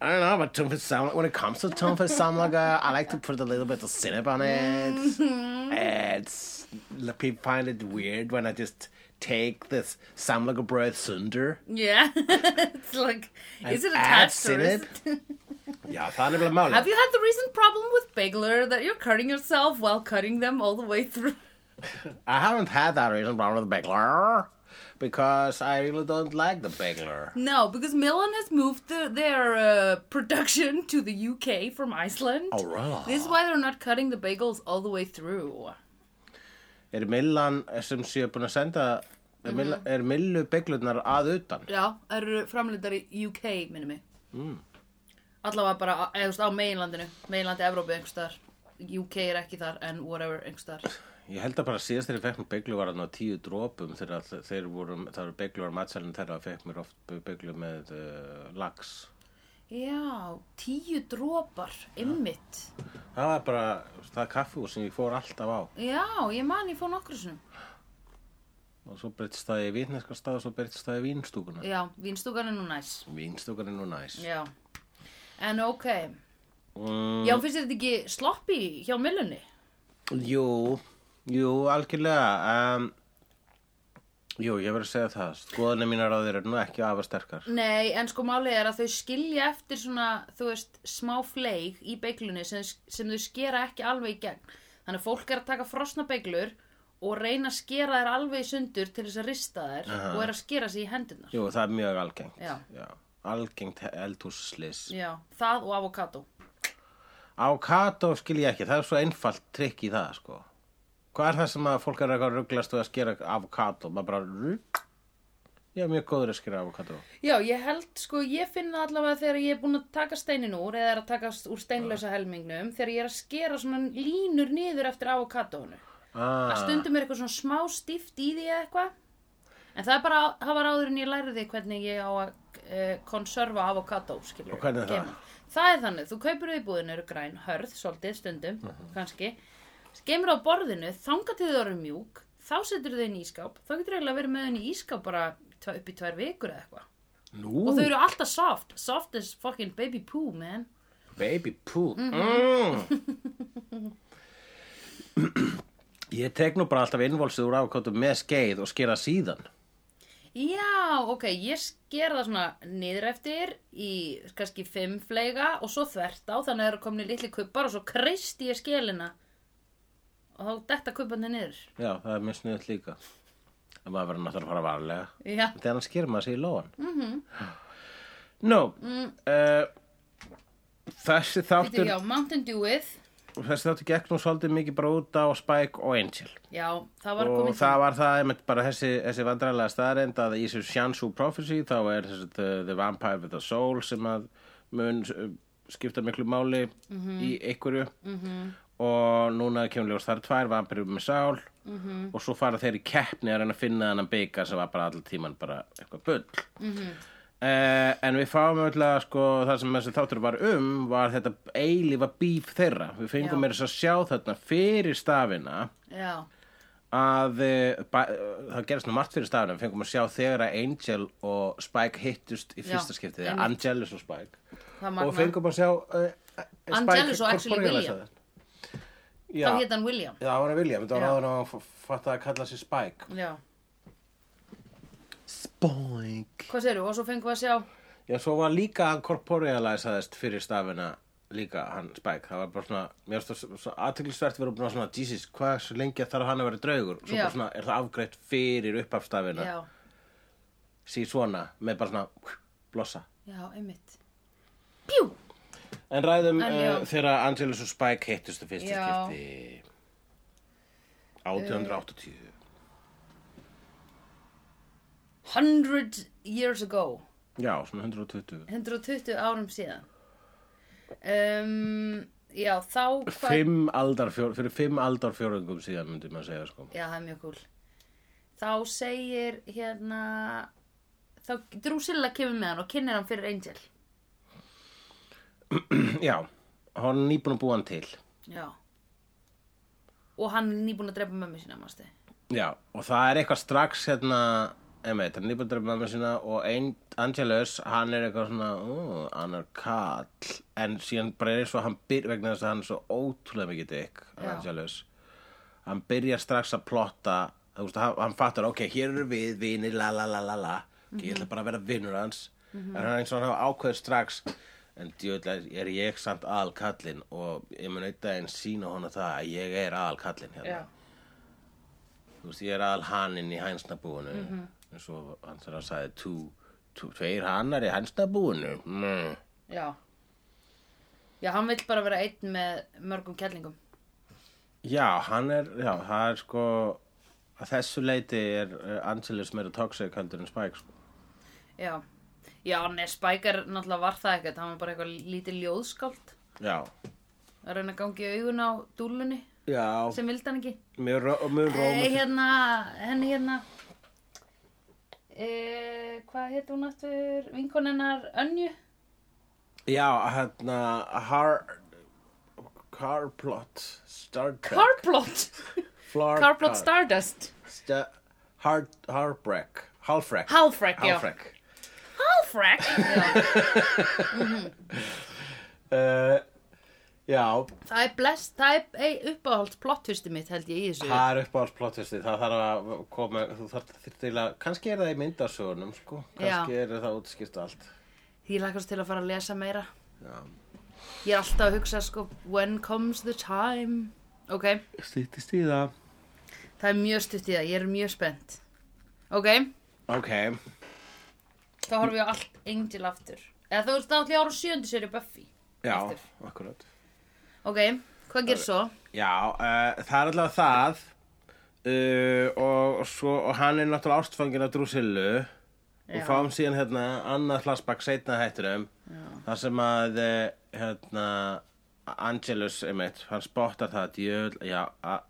[SPEAKER 2] I don't know about tumfisk samlaga When it comes to tumfisk samlaga I like to put a little bit of cinnamon on it It's People find it weird when I just take this samlaga bread sunder
[SPEAKER 1] Yeah. it's like, is it
[SPEAKER 2] I've
[SPEAKER 1] attached or
[SPEAKER 2] seen
[SPEAKER 1] is
[SPEAKER 2] it.
[SPEAKER 1] it?
[SPEAKER 2] Já, það er nefnilega máli
[SPEAKER 1] Have you had the recent problem with Bagler that you're cutting yourself while cutting them all the way through?
[SPEAKER 2] I haven't had that reason problem with the bagler Because I really don't like the bagler
[SPEAKER 1] No, because Milan has moved the, their uh, production to the UK from Iceland.
[SPEAKER 2] Oh, really?
[SPEAKER 1] This is why they're not cutting the bagels all the way through.
[SPEAKER 2] er Millan sem séu búin að senda er, Milla, er Millu bygglunar að utan
[SPEAKER 1] Já, það eru framlindar í UK, minni mig. Mm. Allavega bara á- eða, þú veist, á meginlandinu, meginlandi Evrópu einhvers staðar. UK er ekki þar, en whatever, einhvers staðar.
[SPEAKER 2] ég held að bara síðast þegar ég fekk mér bygglu var hann á tíu drópum þegar þe- þeir voru það eru bygglu var matselin þegar að fekk mér oft bygglu með uh, lax
[SPEAKER 1] Já, tíu dropar, ymmit.
[SPEAKER 2] það var bara það kaffu sem ég fór alltaf á
[SPEAKER 1] Já, ég man, ég fór nokkru sinum.
[SPEAKER 2] og svo breytist það í vitneska stað og svo breytist það í vínstúkuna
[SPEAKER 1] Já, vínstúkan er nú næs.
[SPEAKER 2] vínstúkan er nú næs
[SPEAKER 1] Já, en ok
[SPEAKER 2] mm,
[SPEAKER 1] Já, finnst þér þetta ekki sloppy hjá millunni?
[SPEAKER 2] jú, jú, algjörlega um, jú, ég verður að segja það skoðanir mínar á þeir eru nú ekki afar sterkar
[SPEAKER 1] Nei, en sko málið er að þau skilja eftir svona, þú veist, smá fleig í beiglunni sem, sem þau skera ekki alveg í gegn Þannig að fólk er að taka frosna beiglur og reyna að skera þær alveg í sundur til þess að rista þær
[SPEAKER 2] Aha.
[SPEAKER 1] og er að skera sér í hendurnar
[SPEAKER 2] Jú, það er mjög algengt.
[SPEAKER 1] Já.
[SPEAKER 2] Algengt eldhússlis.
[SPEAKER 1] Já, það og avokado
[SPEAKER 2] Avocado skil ég ekki, það er svo einfalt trikk í það, sko. Hvað er það sem að fólk er eitthvað að rugglast og að skera avocado? Maður bara rugg. Ég er mjög góður að skera avocado.
[SPEAKER 1] Já, ég held, sko, ég finn það allavega þegar ég er búin að taka steinin úr eða er að taka úr steinlösa helmingnum þegar ég er að skera svona línur niður eftir avokadónu að
[SPEAKER 2] Ah,
[SPEAKER 1] stundum er eitthvað svona smá stíft í því eða eitthvað en það er bara, það var áður en ég lærði hvernig ég á að eh, konserva avokadó, skilur
[SPEAKER 2] Og hvernig er það?
[SPEAKER 1] Það er þannig, þú kaupir þau í búðinu eru græn, hörð, svolítið, stundum,
[SPEAKER 2] Mhm.
[SPEAKER 1] kannski skemur á borðinu, þanga til þau eru mjúk þá setur þau inn í ískáp þá getur eiginlega verið með þau inn í ískáp bara tve- upp í tvær vikur eða eitthvað
[SPEAKER 2] nú,
[SPEAKER 1] og þau eru alltaf soft, soft as fucking baby poo, man
[SPEAKER 2] baby poo. Mm
[SPEAKER 1] Mm-hmm.
[SPEAKER 2] ég tek nú bara alltaf innvolsið úr avocado með skeið og skera síðan.
[SPEAKER 1] Já, ok, ég sker það svona niður eftir í kannski fimm fleiga og svo þvert á þannig að það eru komin í litli kubbar og svo kreist ég skelina og þá detta kubbandi niður.
[SPEAKER 2] Já, það er mjög sniðut líka. En maður verður náttúrulega að fara varlega.
[SPEAKER 1] Já,
[SPEAKER 2] Þegar hann sker maður sig í lóan. Mm -hmm. Nú, uh, þessi
[SPEAKER 1] býtu
[SPEAKER 2] þáttur,
[SPEAKER 1] já, Mountain Dewið,
[SPEAKER 2] þessi þáttur gekk nú svolítið mikið bara út á Spike og Angel.
[SPEAKER 1] já, það var
[SPEAKER 2] Og
[SPEAKER 1] komið
[SPEAKER 2] það var það, einmitt bara þessi, þessi vandræðlega staðreind að í þessu Shansu Prophecy þá er þessi the, the Vampire with a Soul sem að mun uh, skipta miklu máli
[SPEAKER 1] Mhm.
[SPEAKER 2] í einhverju -hmm. og núna kemur ljós þar tvær vampirur með sál -hmm.
[SPEAKER 1] Mhm. Mhm.
[SPEAKER 2] og svo fara þeir í keppni að reyna að finna þennan byggar sem var bara allir tíman bara eitthvað bull. Mm -hmm. Eh, en við fáum öll sko, það sem þessi þáttur var um var þetta eilífa bíf þeirra við fengum
[SPEAKER 1] Já.
[SPEAKER 2] meira þess að sjá þarna fyrir stafina
[SPEAKER 1] Já,
[SPEAKER 2] að eh, ba- eh, það gerist nú margt fyrir stafina við fengum að sjá þegar að Angel og Spike hittust í
[SPEAKER 1] Já,
[SPEAKER 2] fyrsta skiptið eða
[SPEAKER 1] einmitt.
[SPEAKER 2] Angelus og Spike
[SPEAKER 1] það magna.
[SPEAKER 2] og fengum að sjá uh,
[SPEAKER 1] Angelus og actually William.
[SPEAKER 2] já,
[SPEAKER 1] Þá hétt hann William.
[SPEAKER 2] já, það var að William þetta var
[SPEAKER 1] Já.
[SPEAKER 2] áður en hann fatt að kalla sér Spike
[SPEAKER 1] Já,
[SPEAKER 2] Spike
[SPEAKER 1] hvað segirðu? Og svo fengum við að sjá,
[SPEAKER 2] Já, svo var líka hann korporealæsaðist fyrir stafina líka hann Spike. Það var bara svona, mér finnst það svo aðteglisvert verið bara svona, Jesus, hvað svo lengi þarf hann að vera draugur? Svo
[SPEAKER 1] Já.
[SPEAKER 2] bara svona, er það afgreitt fyrir upphafstafina,
[SPEAKER 1] já,
[SPEAKER 2] sí svona, með bara svona, blossa.
[SPEAKER 1] já, einmitt. Pjú!
[SPEAKER 2] En ræðum
[SPEAKER 1] En já.
[SPEAKER 2] uh, þegar Angelus og Spike hittust það fyrsta
[SPEAKER 1] Já.
[SPEAKER 2] skipti Eh. 1880.
[SPEAKER 1] 100 years ago.
[SPEAKER 2] Já, svona 120.
[SPEAKER 1] 120 árum síðan. Um, já, þá... hvað-
[SPEAKER 2] Fimm aldar, fjör, fyrir fimm aldar fjórðungum síðan myndi maður segja, sko.
[SPEAKER 1] Já, það er mjög cool. Þá segir hérna... Þá Drusilla kemur með hann og kynir hann fyrir Angel.
[SPEAKER 2] Já, hann er nýbúin að búa hann til.
[SPEAKER 1] Já. Og hann er nýbúin að drepa mömmu sína, mástu.
[SPEAKER 2] Já, og það er eitthvað strax hérna, emeit, hann er nýbúin að drepa mamma sína og ein, Angelus, hann er eitthvað svona, ú, hann er kall, en síðan bara er svo, hann byr, vegna þess að hann er svo ótrúlega mikið dykk,
[SPEAKER 1] Já.
[SPEAKER 2] Angelus, hann byrjar strax að plotta, þú veist, hann, hann fattar, ok, hér eru við, vinir, la la la la la, ok, ég ætla bara að vera vinnur hans, en hann er eins og hann hafa ákveður strax, en djöðlega er ég samt aðalkallinn og ég mun auðvitað en sína hona það að ég er aðalkallinn hérna þú veist, ég er aðal hanninn í hænsnabúinu
[SPEAKER 1] Mhm.
[SPEAKER 2] eins og hann þarf að sagði tú, tú, tveir hannar í hænsnabúinu mm.
[SPEAKER 1] Já. Já, hann vill bara vera einn með mörgum kellingum.
[SPEAKER 2] já, hann er, já, það er sko að þessu leiti er er Angelus meira toxic heldur en Spike sko.
[SPEAKER 1] Já. Já, nei, Spike er náttúrulega var það ekkert. Hann var bara eitthvað lítið ljóðskáld.
[SPEAKER 2] já,
[SPEAKER 1] Að reyna að gangi augun á dúlunni
[SPEAKER 2] já
[SPEAKER 1] sem vildi hann ekki.
[SPEAKER 2] mjög, ró- mjög
[SPEAKER 1] Eh,
[SPEAKER 2] rómur
[SPEAKER 1] hérna, henni hérna eh, Hvað hétt hún aftur? Vinkonennar Önju?
[SPEAKER 2] já, hérna har Carplot Star Trek
[SPEAKER 1] Carplot
[SPEAKER 2] Flor-
[SPEAKER 1] Carplot
[SPEAKER 2] Car-
[SPEAKER 1] Stardust
[SPEAKER 2] Sta- Har- Harbreck Halfreck
[SPEAKER 1] Halfrek, já
[SPEAKER 2] Halfreck
[SPEAKER 1] Halfrek já.
[SPEAKER 2] uh, já,
[SPEAKER 1] Það er bless, það er ei, uppáhalds plottvisti mitt held ég í þessu
[SPEAKER 2] Það er uppáhaldsplottustið, það þarf að koma, þú þarf þyrfti eiginlega, kannski er það í myndasögunum, sko, kannski er það útskýrt allt.
[SPEAKER 1] Ég lakast til að fara að lesa meira
[SPEAKER 2] Já.
[SPEAKER 1] Ég er alltaf að hugsa sko When comes the time Ok,
[SPEAKER 2] Stýttist í það.
[SPEAKER 1] það er mjög stutt í það, ég er mjög spennt Ok,
[SPEAKER 2] Ok,
[SPEAKER 1] þá horfum við á allt Angel aftur Eða þú veist þá ætlum ég ára sjöndu sér í Buffy
[SPEAKER 2] já,
[SPEAKER 1] Aftur.
[SPEAKER 2] akkurat.
[SPEAKER 1] Ok, hvað gerir svo?
[SPEAKER 2] Já, uh, það er allavega það uh, og, svo, og hann er náttúrulega ástfangin af Drusillu og
[SPEAKER 1] Já.
[SPEAKER 2] fáum síðan hérna annað hlasbakk seinna hætturum, þar sem að, eh, hérna, Angelus, einmitt, hann spottar það að djöl, já, a-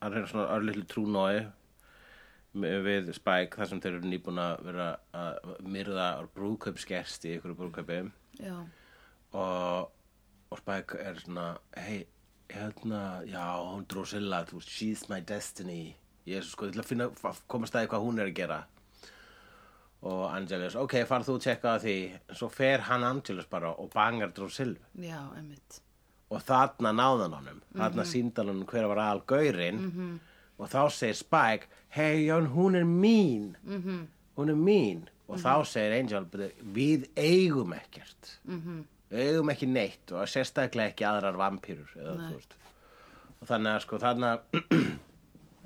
[SPEAKER 2] hann er svona örlítlu trúnói við Spike þar sem þeir eru nýbúin að vera að myrða brúðkaupsgerst í ykkur brúðkaupi
[SPEAKER 1] Já,
[SPEAKER 2] og, og Spike er svona hei, hérna, já, hún Drusilla þú, veist, she's my destiny ég er svo sko, ég ætla að finna, að komast að því hvað hún er að gera og Angelus ok, far þú að tjekka á því svo fer hann Angelus bara og bangar Drusilla
[SPEAKER 1] já, einmitt.
[SPEAKER 2] og þarna náðan honum þarna síndan honum hver var aðal gaurinn -hmm. og þá segir Spike hei Jón, hún er mín -hmm. hún er mín og þá segir Angel "Bíddu, við eigum ekkert mm -hmm. við eigum ekki neitt og sérstaklega ekki aðrar vampýrur eða, þú veist. og þannig að sko þannig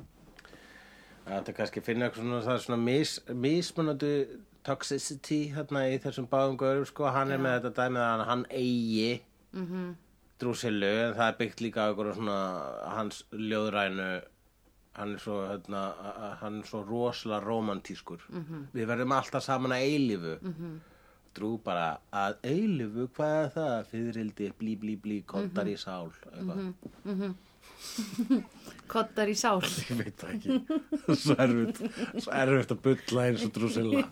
[SPEAKER 2] að þetta kannski finna eitthvað svona, það er svona mis, mismunandi toxicity þarna í þessum báðum gaurum sko, hann er með þetta dæmið að hann- hann eigi Drusillu en það er byggt líka á einhverju svona hans ljóðrænu hann er svo, hérna, a- a- hann er svo rosalega romantískur -hmm. við verðum alltaf saman að eilífu -hmm. drú bara að eilífu hvað er það, fyririldi blí blí blí, kottar í sál eitthvað,
[SPEAKER 1] Kottar í sál.
[SPEAKER 2] ég veit það ekki svo erfitt, svo erfitt að bulla eins og Drusilla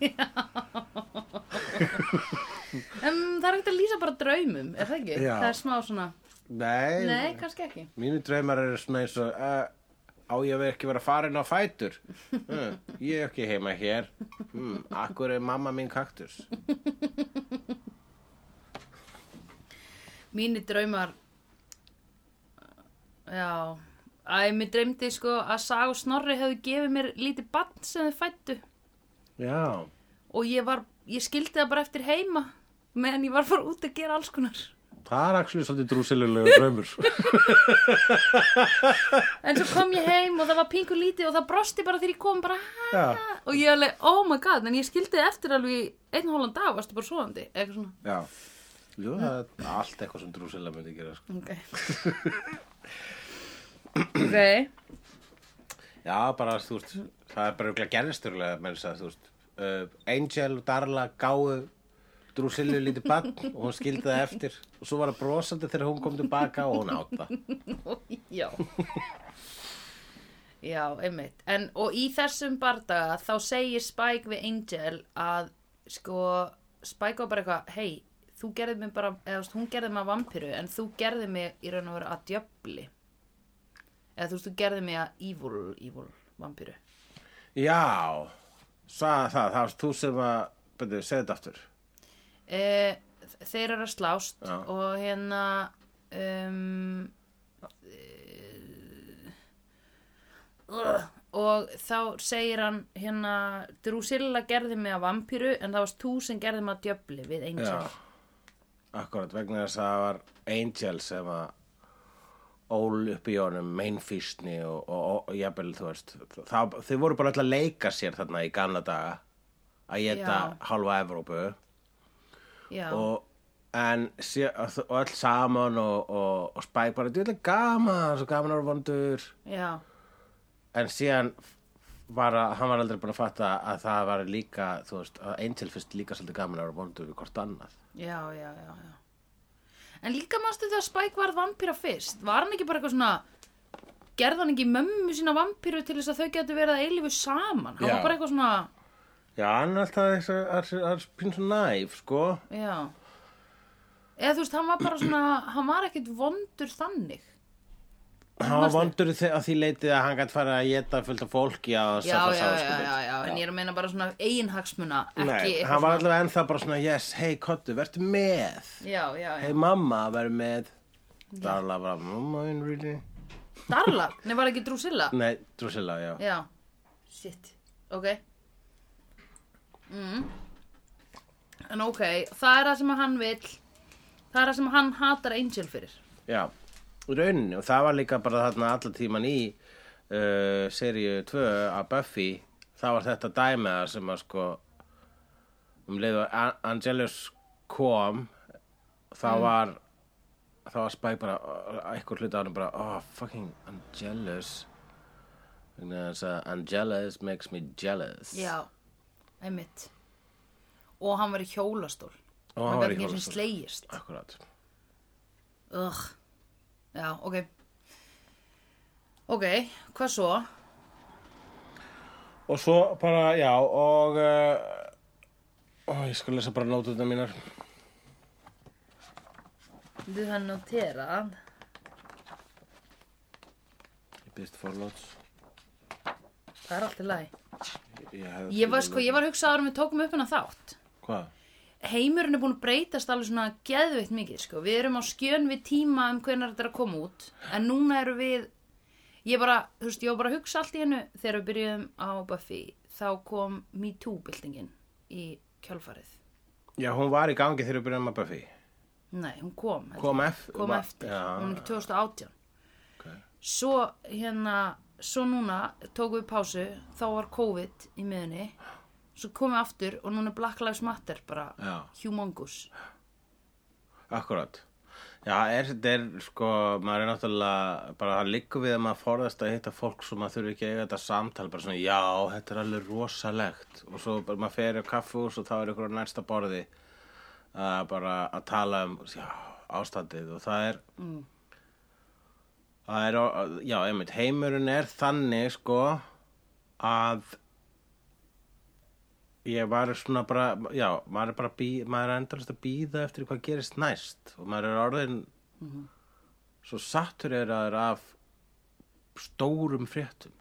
[SPEAKER 1] um, það er ekkert að lýsa bara draumum, er það ekki?
[SPEAKER 2] Já.
[SPEAKER 1] Það er smá svona,
[SPEAKER 2] Nei,
[SPEAKER 1] nei, kannski ekki.
[SPEAKER 2] mínu draumar eru svona eins og uh, á ég að vera ekki vera farin á fætur uh, ég er ekki heima hér hmm, akkur er mamma mín kaktus
[SPEAKER 1] Mínir draumar, já, að mér dreymdi sko að Sag og Snorri hefðu gefið mér lítið bann sem þau fættu
[SPEAKER 2] já,
[SPEAKER 1] og ég var, ég skildi það bara eftir heima meðan ég var bara út að gera alls konar.
[SPEAKER 2] það er akkur svolítið drúsilulegu draumur
[SPEAKER 1] En svo kom ég heim og það var pingu lítið og það brosti bara þegar ég kom bara "Ha?"
[SPEAKER 2] já,
[SPEAKER 1] og ég alveg, oh my god, en ég skildi það eftir alveg í einn og hólan dag, varstu bara svoandi, eitthvað svona.
[SPEAKER 2] já Jú, það er allt eitthvað sem drúsila myndi gera sko.
[SPEAKER 1] Ok. ok.
[SPEAKER 2] Já, bara þú veist, það er bara örugglega gerðisturlega menn að þú veist uh, Angel og Darla gáðu Drúsillu lítið bann og hún skildi það eftir og svo var það brosandi þegar hún kom tilbaka og hún átta
[SPEAKER 1] Já. Já, einmitt. En, og í þessum bardaga þá segir Spike við Angel að sko, Spike var bara eitthvað, hei, þú gerði mig bara, eða þú veist, hún gerði mig að vampiru en þú gerði mig í raun og vera að djöfli. Eða þú veist, þú gerði mig að evil, evil vampiru.
[SPEAKER 2] Já, sagði það, það varst þú sem að, betur, segðu þetta aftur
[SPEAKER 1] E, þeir eru að slást
[SPEAKER 2] Já.
[SPEAKER 1] og hérna, um, Ugh. eh, og þá segir hann hérna Drusilla gerði mig að vampíru en það varst þú sem gerði mig að djöfli við Angel
[SPEAKER 2] Já, akkurat, vegna þess að það var Angel sem að ól upp í honum meinfísni og, og, og, og jafnvel, þú veist það, þau voru bara alltaf að leika sér þarna í gamla daga að geta
[SPEAKER 1] Já.
[SPEAKER 2] halva Evrópu
[SPEAKER 1] já,
[SPEAKER 2] og en sé, og öll saman og, og, og Spike bara, þetta er gaman svo gaman að vera vondur
[SPEAKER 1] já,
[SPEAKER 2] en síðan var að, hann var aldrei búin að fatta að það var líka, þú veist, að Angel fyrst líka svolítið gaman að vera vondur við hvort annað
[SPEAKER 1] já, já, já, já. en líka mástu þegar Spike varð vampíra fyrst var hann ekki bara eitthvað svona gerði hann ekki mömmu sína vampíru til þess að þau getur verið að eilifu saman hann
[SPEAKER 2] Já.
[SPEAKER 1] var bara eitthvað svona
[SPEAKER 2] Já, hann er alltaf þess að- að að- að pínu svo næf, sko
[SPEAKER 1] já eða þú veist, hann var bara svona hann var ekkit vondur þannig
[SPEAKER 2] hann var vondur þe- að því leitið að hann gætt fara að geta fullt af fólki að sko,
[SPEAKER 1] já, já, já, já, já, já, en ég er að meina bara svona eiginhagsmuna, ekki
[SPEAKER 2] Nei,
[SPEAKER 1] eitthvað
[SPEAKER 2] hann var
[SPEAKER 1] svona-
[SPEAKER 2] allavega ennþá bara svona, yes, hei, kottu, vertu með
[SPEAKER 1] já, já, já,
[SPEAKER 2] Hei mamma, verður með Darla var að mamma in really
[SPEAKER 1] Darla, nei var ekki Drusilla
[SPEAKER 2] Nei, Drusilla, já
[SPEAKER 1] já, shit, ok mm. en ok, það er það sem að hann vill það er það sem að hann hatar Angel fyrir
[SPEAKER 2] Já, í rauninni og það var líka bara þarna allan tíman í uh, seríu 2 að Buffy það var þetta dæmiða sem að sko um leið og A- Angelus kom þá var þá var Spike bara uh, eitthvað hluti á hann bara oh fucking Angelus vegna þess að Angelus makes me jealous
[SPEAKER 1] já, einmitt og hann var í hjólastól
[SPEAKER 2] Og hann var í
[SPEAKER 1] gat ekki einu sinni
[SPEAKER 2] hjólastól.
[SPEAKER 1] slegist
[SPEAKER 2] Akkurát
[SPEAKER 1] Ugh. Já, ok. Ok, hvað svo?
[SPEAKER 2] Og svo bara, já, og uh, ó, ég skal lesa bara nótuna mínar.
[SPEAKER 1] Þú hann noterað.
[SPEAKER 2] Ég byrst forlóts.
[SPEAKER 1] Það er allt í lagi.
[SPEAKER 2] Ég, hefði-
[SPEAKER 1] Ég var, sko, ég var að hugsa áður en við tókum upp hennar þátt.
[SPEAKER 2] Hvað?
[SPEAKER 1] Heimurinn er búin að breytast alveg svona geðveitt mikið, sko. Við erum á skjön við tíma um hvenær þetta er að koma út. En núna erum við, ég bara, þú veist, ég var bara að hugsa allt í hennu þegar við byrjuðum á Buffy. Þá kom Me Too-byltingin í kjálfarið.
[SPEAKER 2] Já, hún var í gangi þegar við byrjaðum að Buffy.
[SPEAKER 1] Nei, hún kom. held
[SPEAKER 2] Kom, ef,
[SPEAKER 1] kom
[SPEAKER 2] va-
[SPEAKER 1] eftir,
[SPEAKER 2] Já,
[SPEAKER 1] hún er ekki 2018
[SPEAKER 2] Ok.
[SPEAKER 1] svo hérna svo núna tókum við pásu þá var COVID í miðunni svo komum við aftur og núna er Black Lives Matter bara
[SPEAKER 2] Já.
[SPEAKER 1] humongous
[SPEAKER 2] akkurát. Já, er, þetta er, sko, maður er náttúrulega, bara það liggur við að maður forðast að hitta fólk sem maður þurfi ekki að eiga þetta samtal, bara svona, já, þetta er alveg rosalegt. Og svo bara maður fer í kaffús og þá er ykkur á næsta borði að bara að tala um, já, ástandið og það er,
[SPEAKER 1] Mm.
[SPEAKER 2] Það er, á- já, einmitt, heimurinn er þannig, sko, að ég var svona bara, já, maður er bara bí, maður er endalast að býða eftir hvað gerist næst og maður er orðin svo sattur er að af stórum fréttum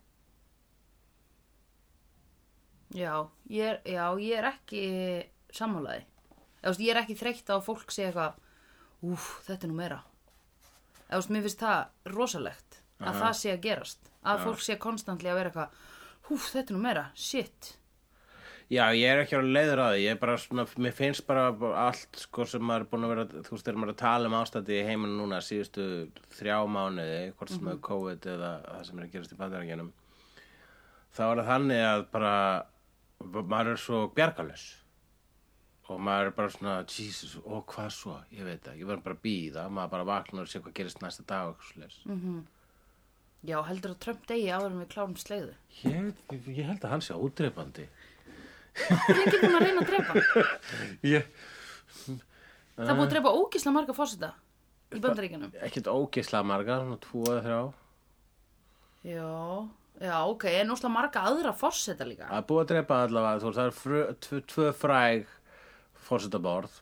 [SPEAKER 1] Já, ég er, já, ég er ekki sammálaði. Eða, þú veist, ég er ekki þreytt á að fólk segja eitthvað, úf, þetta er nú meira. Eða, þú veist, mér finnst það rosalegt að það sé að gerast. Að fólk sé konstantli að vera eitthvað, úf, þetta er nú meira, shit.
[SPEAKER 2] Já, ég er ekki alveg leiður á því, ég er bara svona, mér finnst bara allt sko sem maður er búin að vera, þú veist, þegar maður er að tala um ástætti í heiminu núna síðustu þrjá mánuði, hvort sem mm er COVID eða það sem er að gerast í bandarækjunum, þá er það þannig að bara, maður er svo bjargalus og maður er bara svona, Jesus, og hvað svo, ég veit það, ég verður bara að býða, maður bara vaknar og sé hvað gerist næsta dag og eitthvað slags.
[SPEAKER 1] Já, heldur að Trump degi áður en við klárum sleiðu.
[SPEAKER 2] Ég, ég held að hann sé ódreifandi.
[SPEAKER 1] Ég er ekki búin að reyna að drepa.
[SPEAKER 2] Ég,
[SPEAKER 1] Það er búin að drepa ógislega marga fósita í bandaríkjunum.
[SPEAKER 2] ekkert ógeislega marga, svona tvo eða þrjá.
[SPEAKER 1] Já, já, ok, en óslega marga aðra fósita líka.
[SPEAKER 2] að búið að drepa allavega þú veist það er frö, tvö, tvö fræg fórsetaborð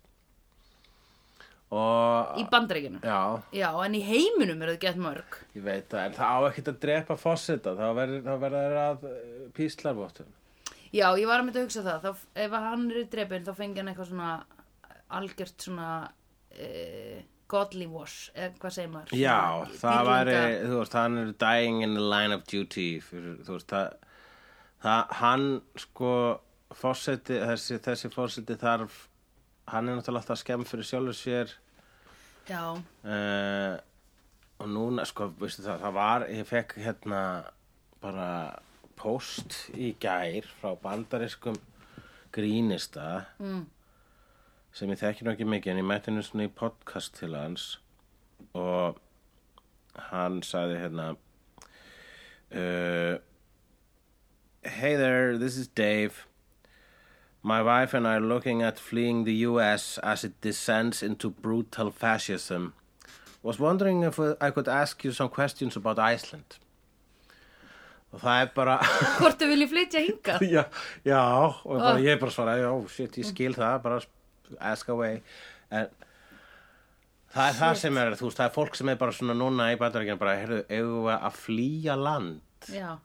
[SPEAKER 2] og Ah.
[SPEAKER 1] Í bandaríkjunum.
[SPEAKER 2] já,
[SPEAKER 1] Já, en í heiminum eru þið gett mörg.
[SPEAKER 2] ég veit það en það á ekkert að drepa fórseta þá verður þá verður það að eh, píslarvottum
[SPEAKER 1] Já, ég var að mynda að hugsa það. Þá, ef hann er í drefin, þá fengi hann eitthvað svona algjört svona uh, godly wash, eða hvað segir maður?
[SPEAKER 2] já,
[SPEAKER 1] Svona
[SPEAKER 2] það væri
[SPEAKER 1] dýrlinga-
[SPEAKER 2] þú veist, hann er dying in the line of duty fyrir, þú veist, það, það hann sko fórseti, þessi, þessi fórseti þarf hann er náttúrulega alltaf skemm fyrir sjálfur sér
[SPEAKER 1] Já,
[SPEAKER 2] uh, og núna sko, veistu það, það var ég fekk hérna bara post í gær frá bandariskum grínista mm. sem ég þekki nú ekki mikið en ég mætti henni svona í podcast til hans og hann sagði hérna uh, Hey there, this is Dave My wife and I are looking at fleeing the US as it descends into brutal fascism. Was wondering if I could ask you some questions about Iceland. Og það er bara,
[SPEAKER 1] hvort þau vilji flytja hingað?
[SPEAKER 2] já, já, og bara, ég er bara svona, já, shit, ég skil það, bara ask away. En það er það sem er, þú veist, það er fólk sem er bara svona núna í bandaríkjana, bara, heyrðu, eigum við að flýja land?
[SPEAKER 1] Já,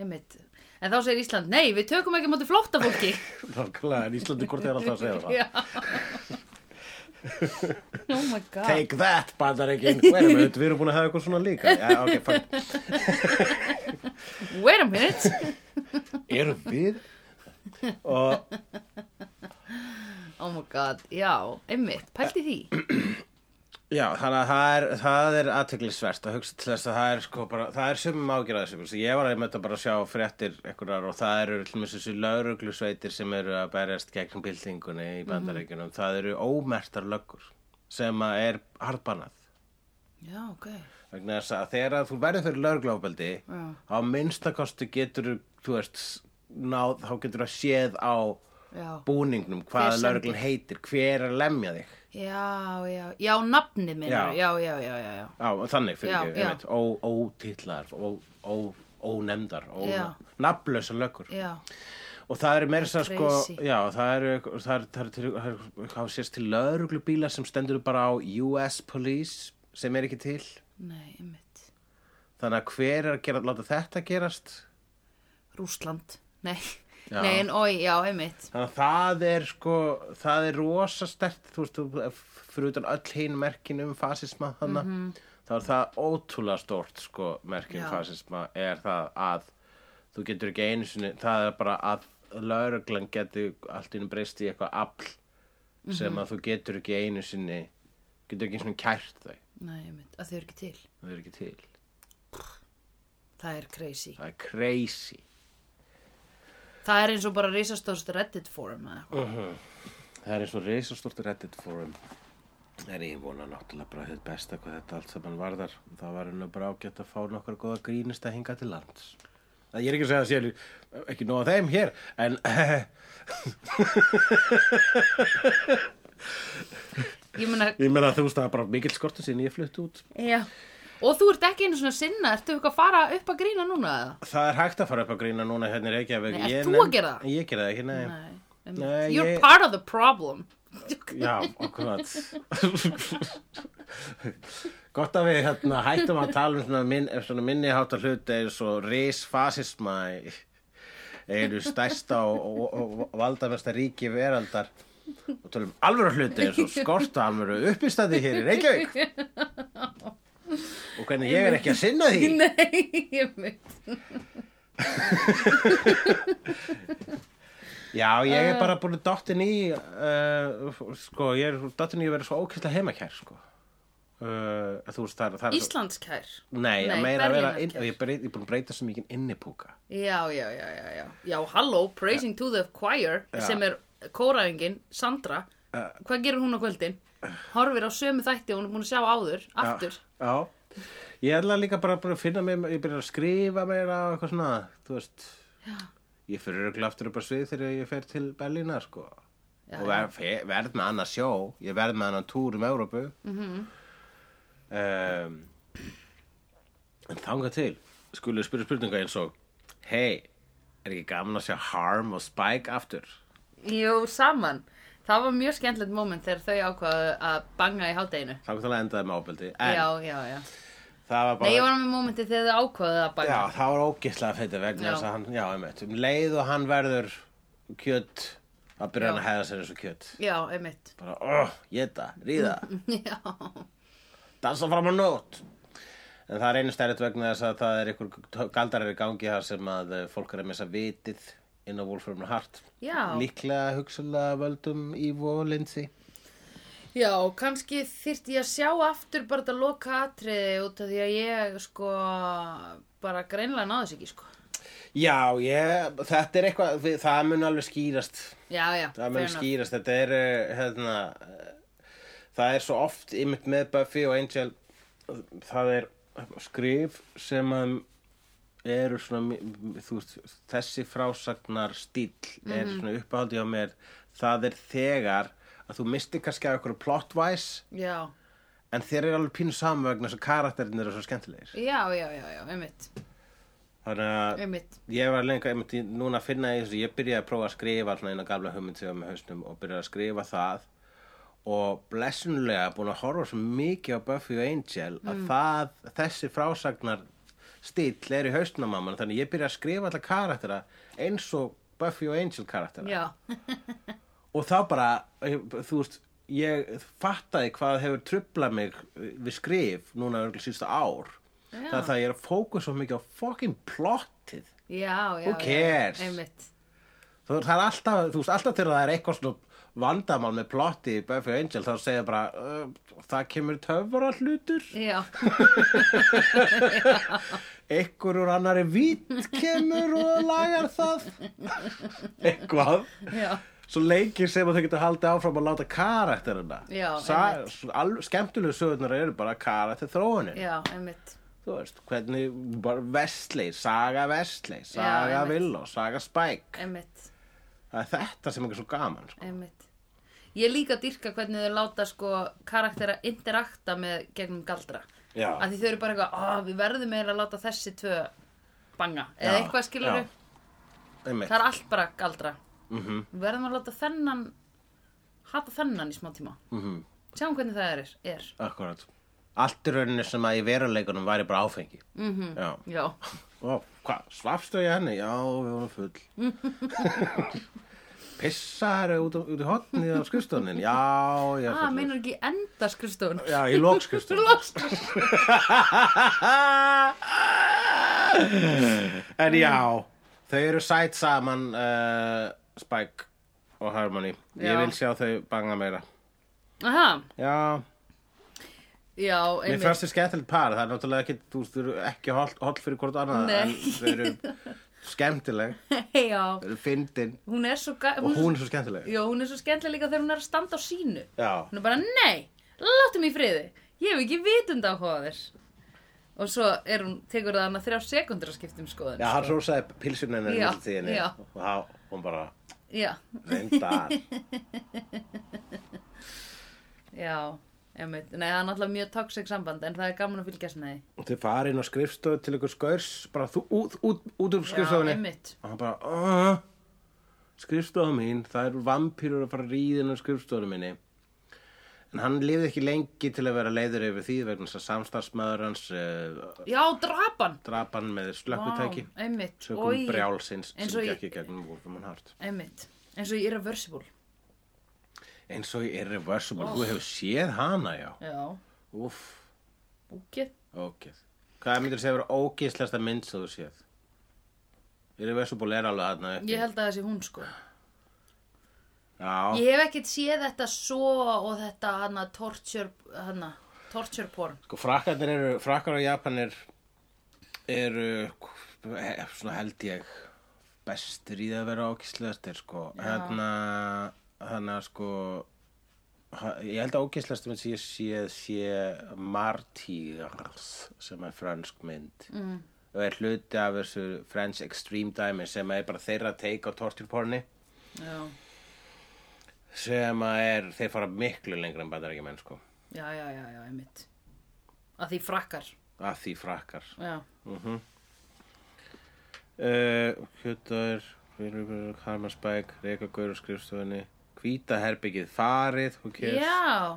[SPEAKER 1] einmitt. En þá segir Ísland, nei, við tökum ekki á móti flóttafólki.
[SPEAKER 2] Nákvæmlega, en Íslandi hvort er alltaf að segja það.
[SPEAKER 1] Já. oh my god.
[SPEAKER 2] Take that, bandaríkin Wait a minute, við erum búin að hafa eitthvað svona líka Já, ok, fine
[SPEAKER 1] Wait a minute.
[SPEAKER 2] Erum við? Og,
[SPEAKER 1] Oh my god, já, einmitt, pælti því.
[SPEAKER 2] já, þannig að það er, það er aðteglisvert að hugsa til þess að það er sko bara, það er sumum ágjörða þessu Svo Ég var að mötta bara að sjá fréttir einhverjar og það eru til mér þessu lauruglusveitir sem eru að berjast gegn byltingunni í
[SPEAKER 1] Mhm.
[SPEAKER 2] bandaríkunum Það eru ómertar löggur sem að er harbanað
[SPEAKER 1] Já, ok.
[SPEAKER 2] vegna þess að þegar að þú verður fyrir lögreglofbeldi
[SPEAKER 1] Já.
[SPEAKER 2] á minnstakosti getur þú veist náð, þá getur það séð á
[SPEAKER 1] Já,
[SPEAKER 2] búningnum
[SPEAKER 1] Hver
[SPEAKER 2] hvað
[SPEAKER 1] sendi?
[SPEAKER 2] lögreglan heitir, hver er að lemja þig
[SPEAKER 1] já, já, já, nafnið minn, já,
[SPEAKER 2] Já.
[SPEAKER 1] já, já, já, já. já.
[SPEAKER 2] á, þannig fyrir
[SPEAKER 1] Já,
[SPEAKER 2] ekki,
[SPEAKER 1] já.
[SPEAKER 2] ég veit, ó- ótitlar ó- ó- ónefndar ó-
[SPEAKER 1] Já.
[SPEAKER 2] nafnlausa löggur
[SPEAKER 1] Já,
[SPEAKER 2] og það eru meira þess að sko
[SPEAKER 1] Crazy.
[SPEAKER 2] já, það eru það eru- það eru til- það eru- það sést til lögreglubíla sem stendur bara á US Police sem er ekki til
[SPEAKER 1] nei, einmitt.
[SPEAKER 2] þannig að hver er að gera, láta þetta gerast
[SPEAKER 1] Rúsland, nei,
[SPEAKER 2] Já.
[SPEAKER 1] nei, en oi, já, einmitt.
[SPEAKER 2] Þannig að það er sko, það er rosa stert, þú veist, þú- fyrir utan öll hinn merkin um fasisma þannig, þá er það ótrúlega stórt sko, merkin
[SPEAKER 1] Já.
[SPEAKER 2] um fasisma er það að þú getur ekki einu sinni, það er bara að lauruglan getur allt innum breyst í eitthvað afl sem að þú getur ekki einu sinni, getur ekki einu sinni kært þau,
[SPEAKER 1] Nei, einmitt, að þau eru ekki til.
[SPEAKER 2] það er ekki til.
[SPEAKER 1] Það er crazy.
[SPEAKER 2] Það er crazy.
[SPEAKER 1] Það er eins og bara risastóðst reddit forum, eða. eitthvað.
[SPEAKER 2] Það er eins og reisastort reddit forum er ég vona náttúrulega bara þið besta hvað þetta allt saman varðar það var henni bara ágætt að fá nokkar góða grínist að hinga til lands Það ég er ekki að segja að sé ekki nóg að þeim hér en
[SPEAKER 1] Ég meina,
[SPEAKER 2] ég meina þú veist það er bara mikill skortu sín ég flutt út
[SPEAKER 1] já, Og þú ert ekki einu svona sinna, ertu eitthvað að fara upp að grína núna eða?
[SPEAKER 2] Það er hægt að fara upp að grína núna hérna í Reykjavík.
[SPEAKER 1] Nei, ert
[SPEAKER 2] Ég
[SPEAKER 1] þú
[SPEAKER 2] nefn-
[SPEAKER 1] að gera það?
[SPEAKER 2] Ég gera það ekki, nei.
[SPEAKER 1] einmitt.
[SPEAKER 2] Nei,
[SPEAKER 1] You're
[SPEAKER 2] ég-
[SPEAKER 1] part of the problem.
[SPEAKER 2] Já, akkurat. Gott að við hérna, hættum að tala um svona, minn, um svona minniháttar hluti eins og risfasisma í- einu stærsta og, og, og, og valdamesta ríki veraldar og tölum alvöru hluti eins og skorta alvöru uppistandi hér í Reykjavík og hvernig ég er ekki að sinna því.
[SPEAKER 1] Nei, ég veit.
[SPEAKER 2] Já, ég er bara búin dottin í, uh, sko, ég er dottin í að vera svo ókvæslega heimakær, sko. Uh, þú veist, það er... það er svo-
[SPEAKER 1] Íslandskær.
[SPEAKER 2] Nei,
[SPEAKER 1] Nei,
[SPEAKER 2] nei meira að vera, inn,
[SPEAKER 1] Berlínarkær.
[SPEAKER 2] ég, breyt, ég er búin að breyta svo mikið innipúka.
[SPEAKER 1] Já, já, já, já, já. Já, halló, praising to the choir,
[SPEAKER 2] Já.
[SPEAKER 1] sem er kóraðingin, Sandra. Hvað gerir hún á kvöldin? Horfir á sömu þætti og hún er búin að sjá áður, aftur.
[SPEAKER 2] Já, já. Ég ætla líka bara bara að finna mér, ég byrja að skrifa meira og eitthvað svona, þú veist.
[SPEAKER 1] Já.
[SPEAKER 2] Ég fyrir örugglega aftur upp á svið þegar ég fer til Berlínar, sko.
[SPEAKER 1] Já,
[SPEAKER 2] og ver, fer, verð með annað sjó, ég verð með annað túr um Európu. Mm
[SPEAKER 1] Mhm.
[SPEAKER 2] -hmm. en þangað til, skulum við spyrja spurninga eins og, hei, er ekki gaman að sjá Harm og Spike aftur?
[SPEAKER 1] Jú, saman. Það var mjög skemmtilegt moment þegar þau ákvaðu að banga í hádeginu.
[SPEAKER 2] Þangað til að endaði með ábeldi. En
[SPEAKER 1] Já, já, já.
[SPEAKER 2] það var bara...
[SPEAKER 1] Nei, ég var með momenti þegar þau ákvaðu að banga.
[SPEAKER 2] Já, það var ógislega feitið vegna
[SPEAKER 1] Já.
[SPEAKER 2] þess að hann, já, einmitt, um leið og hann verður kjött, þá byrjar hann
[SPEAKER 1] Já.
[SPEAKER 2] að hefða sér eins og kjött.
[SPEAKER 1] Já, einmitt.
[SPEAKER 2] Bara, oh, geta, ríða,
[SPEAKER 1] Já,
[SPEAKER 2] dansa fram á nót. En það er einu stærrið vegna þess að það er ykkur galdarar í gangi þar sem að eh, fólk er að missa vitið inn á Wolfram Heart.
[SPEAKER 1] Já.
[SPEAKER 2] Líklega hugsalega völdum í volinsi.
[SPEAKER 1] já kannski þyrfti ég að sjá aftur bara þetta loka atriði út af því að ég sko bara greinlega náðis ekki sko.
[SPEAKER 2] Já, ég, þetta er eitthvað, við- það mun alveg skýrast
[SPEAKER 1] Já, já,
[SPEAKER 2] Það mun skýrast, þetta er uh, hérna, uh, það er svo oft ymmit með Buffy og Angel uh, það er skrif sem að eru svona mi- þú veist, þessi frásagnar stíl er svona uppáhaldi á mér það er þegar að þú misti kannski af ykkur plotvæs
[SPEAKER 1] Já,
[SPEAKER 2] en þeir eru alveg pínu saman vegna þess að karakterinn eru svo skemmtilegir
[SPEAKER 1] já, já, já, já, einmitt,
[SPEAKER 2] þannig að
[SPEAKER 1] einmitt,
[SPEAKER 2] Ég var lengi einmitt í- núna að finna í þessu, ég byrjaði að prófa að skrifa svona eina gamla hugmynd sem ég var með hausnum og byrjaði að skrifa það og blessunlega búin að horfa svo mikið á Buffy og Angel
[SPEAKER 1] Mm.
[SPEAKER 2] að það, þessi frásagnar stíll er í hausnum á mann þannig ég byrjaði að skrifa alla karaktera eins og Buffy og Angel karaktera
[SPEAKER 1] já,
[SPEAKER 2] og þá bara, ég- þú veist, ég fattaði hvað hefur trublað mig við skrif núna örugglega síðustu ár
[SPEAKER 1] Já.
[SPEAKER 2] það er það að ég er að fókus svo mikið á fucking plottið
[SPEAKER 1] já, já,
[SPEAKER 2] Who cares?
[SPEAKER 1] já, einmitt,
[SPEAKER 2] Þú, það er alltaf, þú veist, alltaf til að það er eitthvað svona vandamál með plotti í Buffy og Angel þá segja bara, uh, það kemur töfra hlutur,
[SPEAKER 1] já,
[SPEAKER 2] einhver úr annari vít kemur og lagar það eitthvað
[SPEAKER 1] já,
[SPEAKER 2] svo leikir sem að þau getur haldið áfram að láta karakterina
[SPEAKER 1] Já,
[SPEAKER 2] Sa-
[SPEAKER 1] einmitt.
[SPEAKER 2] svo alveg- skemmtilegu sögurnar eru bara karakter þróunin
[SPEAKER 1] já, einmitt,
[SPEAKER 2] þú veist, hvernig bara Vestley, Saga Vestley Saga
[SPEAKER 1] einmitt.
[SPEAKER 2] Villó, Saga Spike
[SPEAKER 1] einmitt,
[SPEAKER 2] það er þetta sem ekki svo gaman sko.
[SPEAKER 1] einmitt. Ég líka dýrka hvernig þau láta sko karaktera interakta með gegnum galdra.
[SPEAKER 2] Já.
[SPEAKER 1] Af því þau eru bara eitthvað, "Ah, við verðum meira að láta þessi tvö banga. Eða
[SPEAKER 2] Já,
[SPEAKER 1] eitthvað skilur
[SPEAKER 2] já. Einmitt.
[SPEAKER 1] Það er allt bara galdra. -hmm. Við verðum að láta þennan, hata þennan í smá tíma. Mm -hmm. Sjáum hvernig það er. er.
[SPEAKER 2] Akkurat. Allt í rauninni sem að í veruleikunum væri bara áfengi. Mm
[SPEAKER 1] Mhm.
[SPEAKER 2] -hmm. Já.
[SPEAKER 1] Já,
[SPEAKER 2] Ó, hvað, svafstu í henni? Já, við vorum full. Pissaður út, á- út í hotni á skrifstofunin? Já, ég er
[SPEAKER 1] ah,
[SPEAKER 2] fullur.
[SPEAKER 1] meinar ekki enda skrifstofun.
[SPEAKER 2] Já, í lók skrifstofunin. en já, þau eru sætt saman, uh, Spike og Harmony. Ég
[SPEAKER 1] Já.
[SPEAKER 2] vil sjá þau banga meira.
[SPEAKER 1] Aha,
[SPEAKER 2] Já,
[SPEAKER 1] já,
[SPEAKER 2] Mér
[SPEAKER 1] einmitt.
[SPEAKER 2] fannst þið skemmtilegt par, það er náttúrulega ekki, þú veist, þau eru ekki holt, holt fyrir hvort annað,
[SPEAKER 1] Nei.
[SPEAKER 2] en þau eru skemmtileg,
[SPEAKER 1] já,
[SPEAKER 2] þau eru fyndin
[SPEAKER 1] hún er svo... ga-
[SPEAKER 2] og hún er svo skemmtileg.
[SPEAKER 1] Já, hún er svo skemmtilega líka þegar hún er að standa á sínu.
[SPEAKER 2] Já,
[SPEAKER 1] Hún er bara, nei, láttu mig í friði. Ég hef ekki vitund á hvað þér. Og svo er hún, tekur það hana þrjá sekundur að skipta um skoðun.
[SPEAKER 2] já hann rósaði pilsun hennar í
[SPEAKER 1] Já,
[SPEAKER 2] tíðinni
[SPEAKER 1] já.
[SPEAKER 2] og þá, hún bara,
[SPEAKER 1] Já,
[SPEAKER 2] reyndar,
[SPEAKER 1] já, Einmitt. Nei, það er náttúrulega mjög toxic samband en það er gaman að fylgjast með því.
[SPEAKER 2] Þau fara inn á skrifstofu til ykkur skaurs bara þú, út, út, út úr
[SPEAKER 1] Já,
[SPEAKER 2] skrifstofunni
[SPEAKER 1] einmitt.
[SPEAKER 2] og hann bara "Ah, skrifstofa mín, það eru vampýrur að fara að ríða inn á skrifstofunni minni en hann lifði ekki lengi til að vera leiður yfir því vegna þess að samstarfsmaður hans uh,
[SPEAKER 1] Já, drapan!
[SPEAKER 2] drap hann með slökkutæki
[SPEAKER 1] Vá, einmitt.
[SPEAKER 2] sögum
[SPEAKER 1] Oj.
[SPEAKER 2] brjálsins sem
[SPEAKER 1] Eins og í-
[SPEAKER 2] gekk í gegnum Wolfram Hart
[SPEAKER 1] Einmitt. Eins og í Irreversible.
[SPEAKER 2] eins og í Irreversible, þú hefur séð hana já
[SPEAKER 1] Já,
[SPEAKER 2] Úff,
[SPEAKER 1] búkið.
[SPEAKER 2] ógeð Hvað myndir segja vera ógeðslegasta mynd sem þú séð? Irreversible er alveg þarna uppi
[SPEAKER 1] Ég held að það sé hún sko.
[SPEAKER 2] Já,
[SPEAKER 1] Ég hef ekkert séð þetta svo og þetta hana torture, hana, torture porn.
[SPEAKER 2] sko frakkarnir eru, frakkar og japanir eru, eh, svona held ég, bestir í það að vera ógeðslegastir sko Hérna, hérna sko, ha- ég held að ógeðslegasta mynd sem ég séð sé Martyrs sem er fransk mynd mm. og er hluti af þessu French Extreme Dæmi sem er bara þeirra take á torturporni
[SPEAKER 1] Já,
[SPEAKER 2] sem að er, þeir fara miklu lengra en bandarækjumenn sko
[SPEAKER 1] já, já, já, já einmitt. Að því frakkar.
[SPEAKER 2] að því frakkar
[SPEAKER 1] Já,
[SPEAKER 2] uh, Hjötar Harman Spæk, Reka Gaur og skrifstofunni Hvíta herbyggið farið who cares?
[SPEAKER 1] já.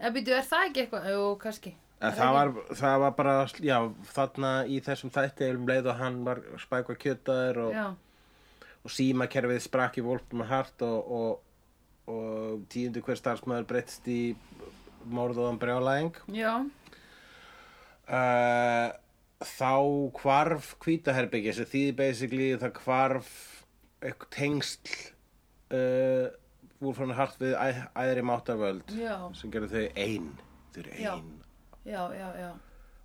[SPEAKER 1] Eða býtu, er það ekki eitthvað? Jú, kannski.
[SPEAKER 2] En það var, það var bara, já, þarna í þessum þætti er um leið og hann var Spæk var kjötaður og,
[SPEAKER 1] Já,
[SPEAKER 2] og símakerfið sprakk í Wolfram Hart og, og, og tíundu hver starfsmaður breyttist í morðuðan brjálæðing
[SPEAKER 1] já,
[SPEAKER 2] Uh, þá hvarf hvítaherbyggja sem þýði basically það hvarf eitthvað tengsl uh, úr frá hart við æ, æðri máttarvöld
[SPEAKER 1] já,
[SPEAKER 2] sem gerði þau ein þau eru
[SPEAKER 1] Já.
[SPEAKER 2] ein
[SPEAKER 1] já, já, já.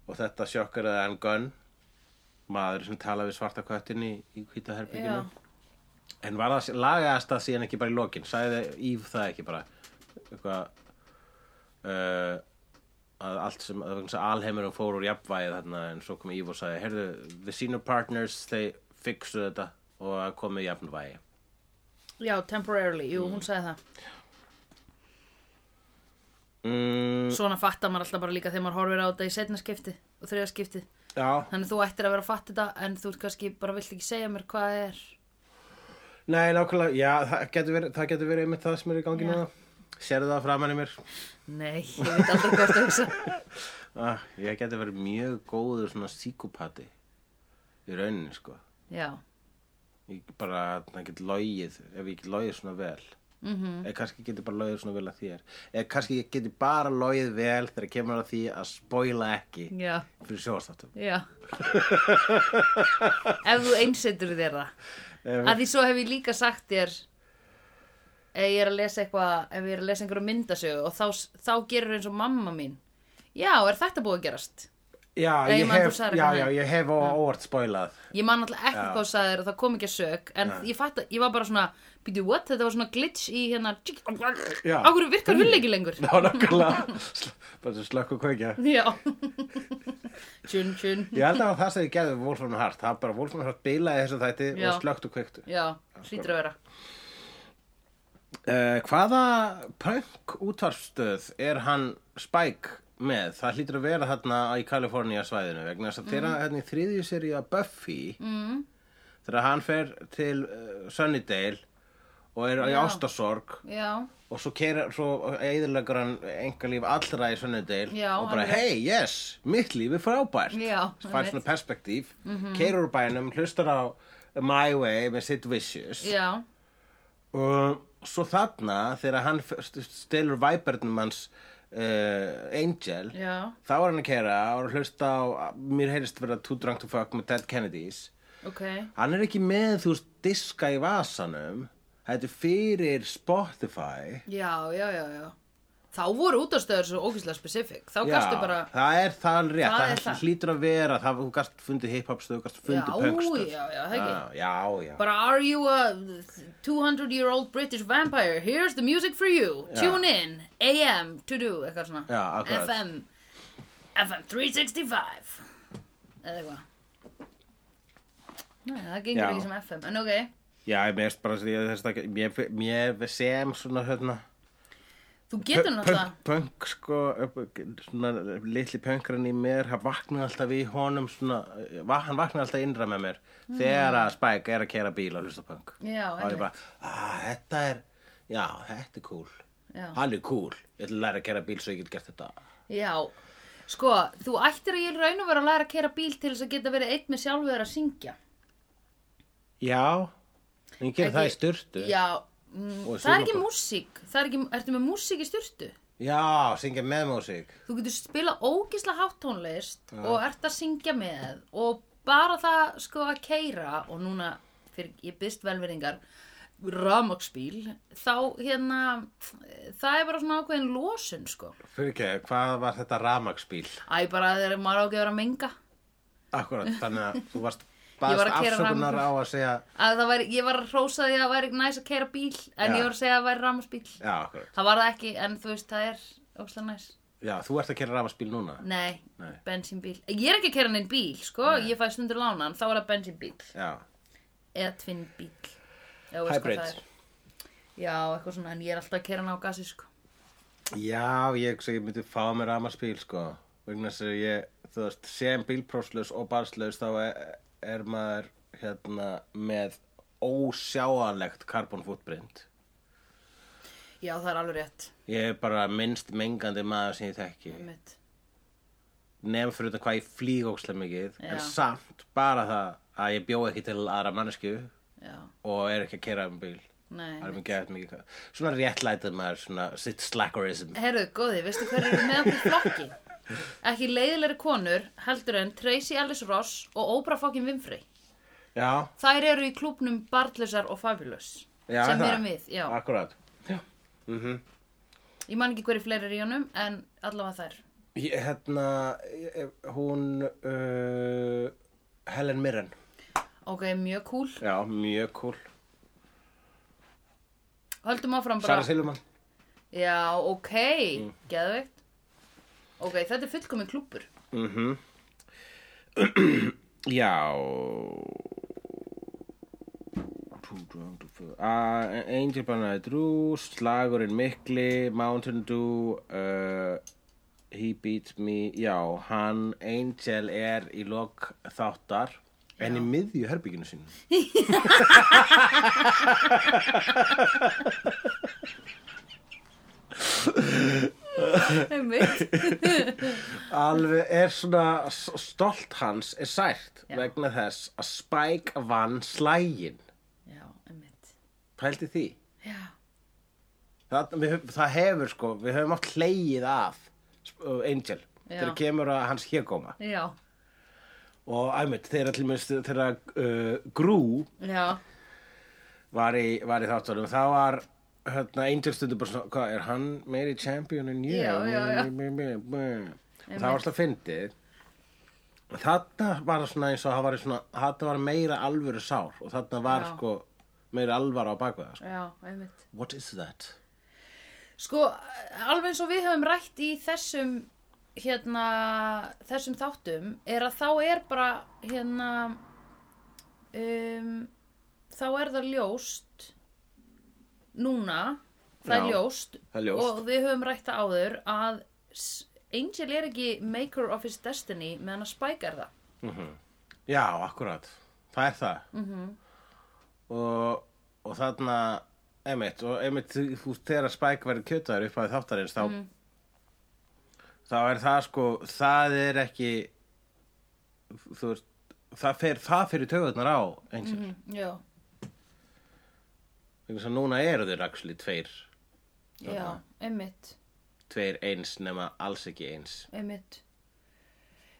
[SPEAKER 2] og þetta sjokkaraði hann Gunn maður sem talaði við svarta köttin í, í
[SPEAKER 1] Já.
[SPEAKER 2] hvítaherbyggjum en var það lagaðast það síðan ekki bara í lokin sagði Íf það ekki bara eitthvað uh, að allt sem að vegna þess að alheimurum fór úr jafnvægi þarna en svo kom Íf og sagði heyrðu, the senior partners þeir fixu þetta og að komi jafnvægi
[SPEAKER 1] Já, temporarily, jú, hún sagði það.
[SPEAKER 2] mm,
[SPEAKER 1] Svona fattar maður alltaf bara líka þegar maður horfir á þetta í setna skipti og þriða skipti.
[SPEAKER 2] já,
[SPEAKER 1] Þannig þú ættir að vera að fatta þetta en þú ert kannski bara vilt ekki segja mér hvað það er.
[SPEAKER 2] nei nákvæmlega já, það getur verið, það getur verið einmitt það sem er í gangi
[SPEAKER 1] Já.
[SPEAKER 2] núna sérðu það framan í mér
[SPEAKER 1] Nei, ég veit aldrei hvað það hugsa.
[SPEAKER 2] Ah, ég geti verið mjög góður svona síkupati í rauninni sko
[SPEAKER 1] Já,
[SPEAKER 2] ég bara, það get logið ef ég get logið svona vel mm
[SPEAKER 1] Mhm.
[SPEAKER 2] -hmm. eða kannski geti bara logið svona vel að þér eða kannski ég geti bara logið vel þegar kemur að því að spoila ekki
[SPEAKER 1] já,
[SPEAKER 2] fyrir sjóðstáttum
[SPEAKER 1] já. Ef þú einsetur þér það. Að því svo hef ég líka sagt þér ef ég er að lesa eitthvað, ef ég er að lesa einhverja myndasögu og þá, þá gerur eins og mamma mín. Já, er þetta búið að gerast?
[SPEAKER 2] já,
[SPEAKER 1] Nei, ég
[SPEAKER 2] ég
[SPEAKER 1] man þú
[SPEAKER 2] hef,
[SPEAKER 1] sagðir
[SPEAKER 2] já,
[SPEAKER 1] eitthvað
[SPEAKER 2] já,
[SPEAKER 1] þannig.
[SPEAKER 2] ég hef á óvart spoilað
[SPEAKER 1] Ég man alltaf ekki
[SPEAKER 2] Já.
[SPEAKER 1] hvað þú sagðir og það kom ekki að sök en ég fatt að, ég var bara svona býtu, what? Þetta var svona glitch í hérna
[SPEAKER 2] Já.
[SPEAKER 1] ákveður virkar hull ekki lengur
[SPEAKER 2] Ná, nákvæmlega, Sl- bara svo slökk og kveikja
[SPEAKER 1] Já Tjun, tjun
[SPEAKER 2] Ég held að það var það sem ég gerði við Wolfram Hart Það var bara Wolfram Hart bilaði þessu þætti
[SPEAKER 1] Já.
[SPEAKER 2] og slökkt og kveiktu
[SPEAKER 1] Já, hlýtur að vera
[SPEAKER 2] Uh, hvaða punk útvarfstöð er hann Spike með? Það hlýtur að vera þarna í Kalifornía svæðinu vegna þess að þeirra
[SPEAKER 1] Mm.
[SPEAKER 2] hérna í þriðju seríu að Buffy mm. þegar hann fer til uh, Sunnydale og er í
[SPEAKER 1] Já.
[SPEAKER 2] ástasorg
[SPEAKER 1] Já,
[SPEAKER 2] og svo, keira, svo eðurlegur hann engalíf allra í Sunnydale
[SPEAKER 1] Já,
[SPEAKER 2] og bara
[SPEAKER 1] hann er-
[SPEAKER 2] hei, yes, mitt líf er frábært
[SPEAKER 1] Já,
[SPEAKER 2] fær svona
[SPEAKER 1] einmitt.
[SPEAKER 2] perspektíf mm
[SPEAKER 1] Mhm.
[SPEAKER 2] úr bænum, hlustar á My Way með Sid Vicious
[SPEAKER 1] já,
[SPEAKER 2] og svo þarna þegar hann f- st- stelur væpernum hans uh, Angel
[SPEAKER 1] já
[SPEAKER 2] þá var hann að kæra og að hlusta á mér heyrist vera Too Drunk to Fuck með Ted Kennedys
[SPEAKER 1] Ok,
[SPEAKER 2] hann er ekki með þú veist diska í vasanum þetta er fyrir Spotify
[SPEAKER 1] já, já, já, já Þá voru útastöður svo ókvæslega specifík Þá gastu bara
[SPEAKER 2] það er það rétt,
[SPEAKER 1] Það
[SPEAKER 2] það,
[SPEAKER 1] er það.
[SPEAKER 2] hlýtur að vera það, þú gast fundið hip-hopstöð, þú gast fundið
[SPEAKER 1] Já,
[SPEAKER 2] punkstöð
[SPEAKER 1] já, já, það ekki.
[SPEAKER 2] Já, já, já.
[SPEAKER 1] Bara are you a 200 year old British vampire Here's the music for you
[SPEAKER 2] Já.
[SPEAKER 1] Tune in, AM to do Eitthvað svona
[SPEAKER 2] Já, akkurat.
[SPEAKER 1] FM FM 365 Eða eitthvað Nei, það gengur
[SPEAKER 2] Já.
[SPEAKER 1] ekki sem FM En ok,
[SPEAKER 2] Já, ég meðst bara að ég, þess að mér, mér sem svona hérna
[SPEAKER 1] Þú getur náttúrulega
[SPEAKER 2] Punk- Punk, sko, svona litli punkarinn í mér, hann vaknaði alltaf í honum, svona, va- hann vaknaði alltaf innra með mér þegar að Spike er að kera bíl og hlusta á punk.
[SPEAKER 1] Mm. Já,
[SPEAKER 2] Og ég
[SPEAKER 1] einmitt.
[SPEAKER 2] bara, að þetta er, já, þetta er cool.
[SPEAKER 1] Já.
[SPEAKER 2] Hann er cool. Ég ætla að læra að kera bíl svo ég get gert þetta.
[SPEAKER 1] Já, sko, þú ættir að ég raun og vera að læra að kera bíl til þess að geta verið einn með sjálfur að syngja.
[SPEAKER 2] Já, en ég gerir það í
[SPEAKER 1] Ekki-
[SPEAKER 2] styrtu.
[SPEAKER 1] Já, mm,
[SPEAKER 2] Og
[SPEAKER 1] það er ekki
[SPEAKER 2] sumarbúð.
[SPEAKER 1] músík, það er ekki, ertu með músík í styrtu?
[SPEAKER 2] Já, syngja með músík.
[SPEAKER 1] Þú getur spilað ógisla hátt tónlist og ert að syngja með og bara það sko að keira og núna fyrir ég byrst velveringar rafmaksbíl, þá hérna, það er bara svona ákveðin losun sko.
[SPEAKER 2] Fyrir ekki, hvað var þetta ramagsbíl?
[SPEAKER 1] Æ, bara þegar maður á ekki að vera að menga.
[SPEAKER 2] Akkurat, þannig að þú varst
[SPEAKER 1] Ég var
[SPEAKER 2] baðst
[SPEAKER 1] að keyra
[SPEAKER 2] afsökunar á
[SPEAKER 1] rafmagnsbíl.
[SPEAKER 2] að segja,
[SPEAKER 1] að það væri, ég var að hrósa því að það væri næs að keira bíl en
[SPEAKER 2] Já.
[SPEAKER 1] ég var að segja að það væri rámasbíl
[SPEAKER 2] já, akkurat.
[SPEAKER 1] það var það ekki en þú veist það er óslega næs
[SPEAKER 2] Já, þú ert að kera rafspíl núna?
[SPEAKER 1] nei,
[SPEAKER 2] Nei.
[SPEAKER 1] bensínbíl ég er ekki að keira neinn bíl sko ég fæ stundur lánan þá er það bensínbíl
[SPEAKER 2] Já,
[SPEAKER 1] eða tvinnbíl
[SPEAKER 2] Hybrid.
[SPEAKER 1] já eitthvað svona en ég er alltaf að keira ná gasi sko
[SPEAKER 2] já ég, svo ég myndi fá mér rafmagnspíl sko vegna þess að ég, þú veist, sem bílprófslaus og barslaus þá er, er maður hérna með ósjáanlegt carbon footprint
[SPEAKER 1] já það er alveg rétt
[SPEAKER 2] Ég er bara minnst mengandi maður sem ég þekki
[SPEAKER 1] Einmitt.
[SPEAKER 2] nefn fyrir þetta hvað ég flýg ókslega mikið
[SPEAKER 1] Já.
[SPEAKER 2] en samt bara það að ég bjó ekki til aðra mannesku
[SPEAKER 1] já,
[SPEAKER 2] og er ekki að kera um bíl
[SPEAKER 1] nei
[SPEAKER 2] Það er mér gett mikið svona réttlætið maður, svona sitt slackerism
[SPEAKER 1] Herðu, góði, veistu hver eru með okkur í flokki? Ekki leiðilegri konur heldur en Tracy Ellis Ross og Oprah fucking Winfrey
[SPEAKER 2] Já,
[SPEAKER 1] Þær eru í klúbnum Bartlusar og Fabulous
[SPEAKER 2] já
[SPEAKER 1] sem
[SPEAKER 2] það.
[SPEAKER 1] erum við, já.
[SPEAKER 2] Akkúrat. Já
[SPEAKER 1] Ég man ekki hverju fleiri er í honum en allavega þær.
[SPEAKER 2] Ég, hérna, ég, hún, uh, Helen Mirren.
[SPEAKER 1] Ok, mjög cool.
[SPEAKER 2] Já, mjög cool.
[SPEAKER 1] Höldum áfram bara.
[SPEAKER 2] Sara Silverman.
[SPEAKER 1] Já, ok, geðveikt. Ok, þetta er fullkomin klúbur.
[SPEAKER 2] Já. Uh, Angel Banana Drew, Slagurinn Mikli, Mountain Dew, uh, He Beats Me, já, hann Angel er í lok þáttar, en í miðju herbygginu sínu.
[SPEAKER 1] Einmitt.
[SPEAKER 2] Alveg er svona s- stolt hans er sært
[SPEAKER 1] Já.
[SPEAKER 2] vegna þess að Spike vann slægin.
[SPEAKER 1] Já, einmitt.
[SPEAKER 2] Pældi því.
[SPEAKER 1] Já,
[SPEAKER 2] Það, við, höf- það hefur sko, við höfum átt hleyið af sp- uh, Angel
[SPEAKER 1] Já.
[SPEAKER 2] þegar kemur að hans hérgóma.
[SPEAKER 1] já,
[SPEAKER 2] Og æmjöld, þeirra til mjög þegar uh, Grú
[SPEAKER 1] já,
[SPEAKER 2] var í, var í þáttunum, þá var hérna, Angel stundum bara svona, hvað, er hann meiri champion en ég?
[SPEAKER 1] Já, já, já.
[SPEAKER 2] Og Það var alltaf fyndið. Þarna var svona eins og það var, í svona, þarna var meira alvöru sár og þarna var
[SPEAKER 1] Já.
[SPEAKER 2] sko meira alvara á bakveða. Sko.
[SPEAKER 1] já, einmitt.
[SPEAKER 2] What is that?
[SPEAKER 1] Sko, alveg eins og við höfum rætt í þessum, hérna, þessum þáttum, er að þá er bara, hérna, um, þá er það ljóst, núna, það er
[SPEAKER 2] Já,
[SPEAKER 1] ljóst,
[SPEAKER 2] það er ljóst.
[SPEAKER 1] og við höfum rætt það áður að s- Angel er ekki maker of his destiny meðan að Spike er það.
[SPEAKER 2] Já, akkurat. Það er það. -hmm. og, og þarna, emitt, og emitt, þú þegar að Spike verið kjötaður upp að þáttarins, þá, þá er það sko, það er ekki, þú veist, það fer, það fer í taugarnar á, eins og, mm -hmm.
[SPEAKER 1] Já,
[SPEAKER 2] þess að núna eru þeir axli tveir,
[SPEAKER 1] já, einmitt.
[SPEAKER 2] tveir eins nema alls ekki eins.
[SPEAKER 1] einmitt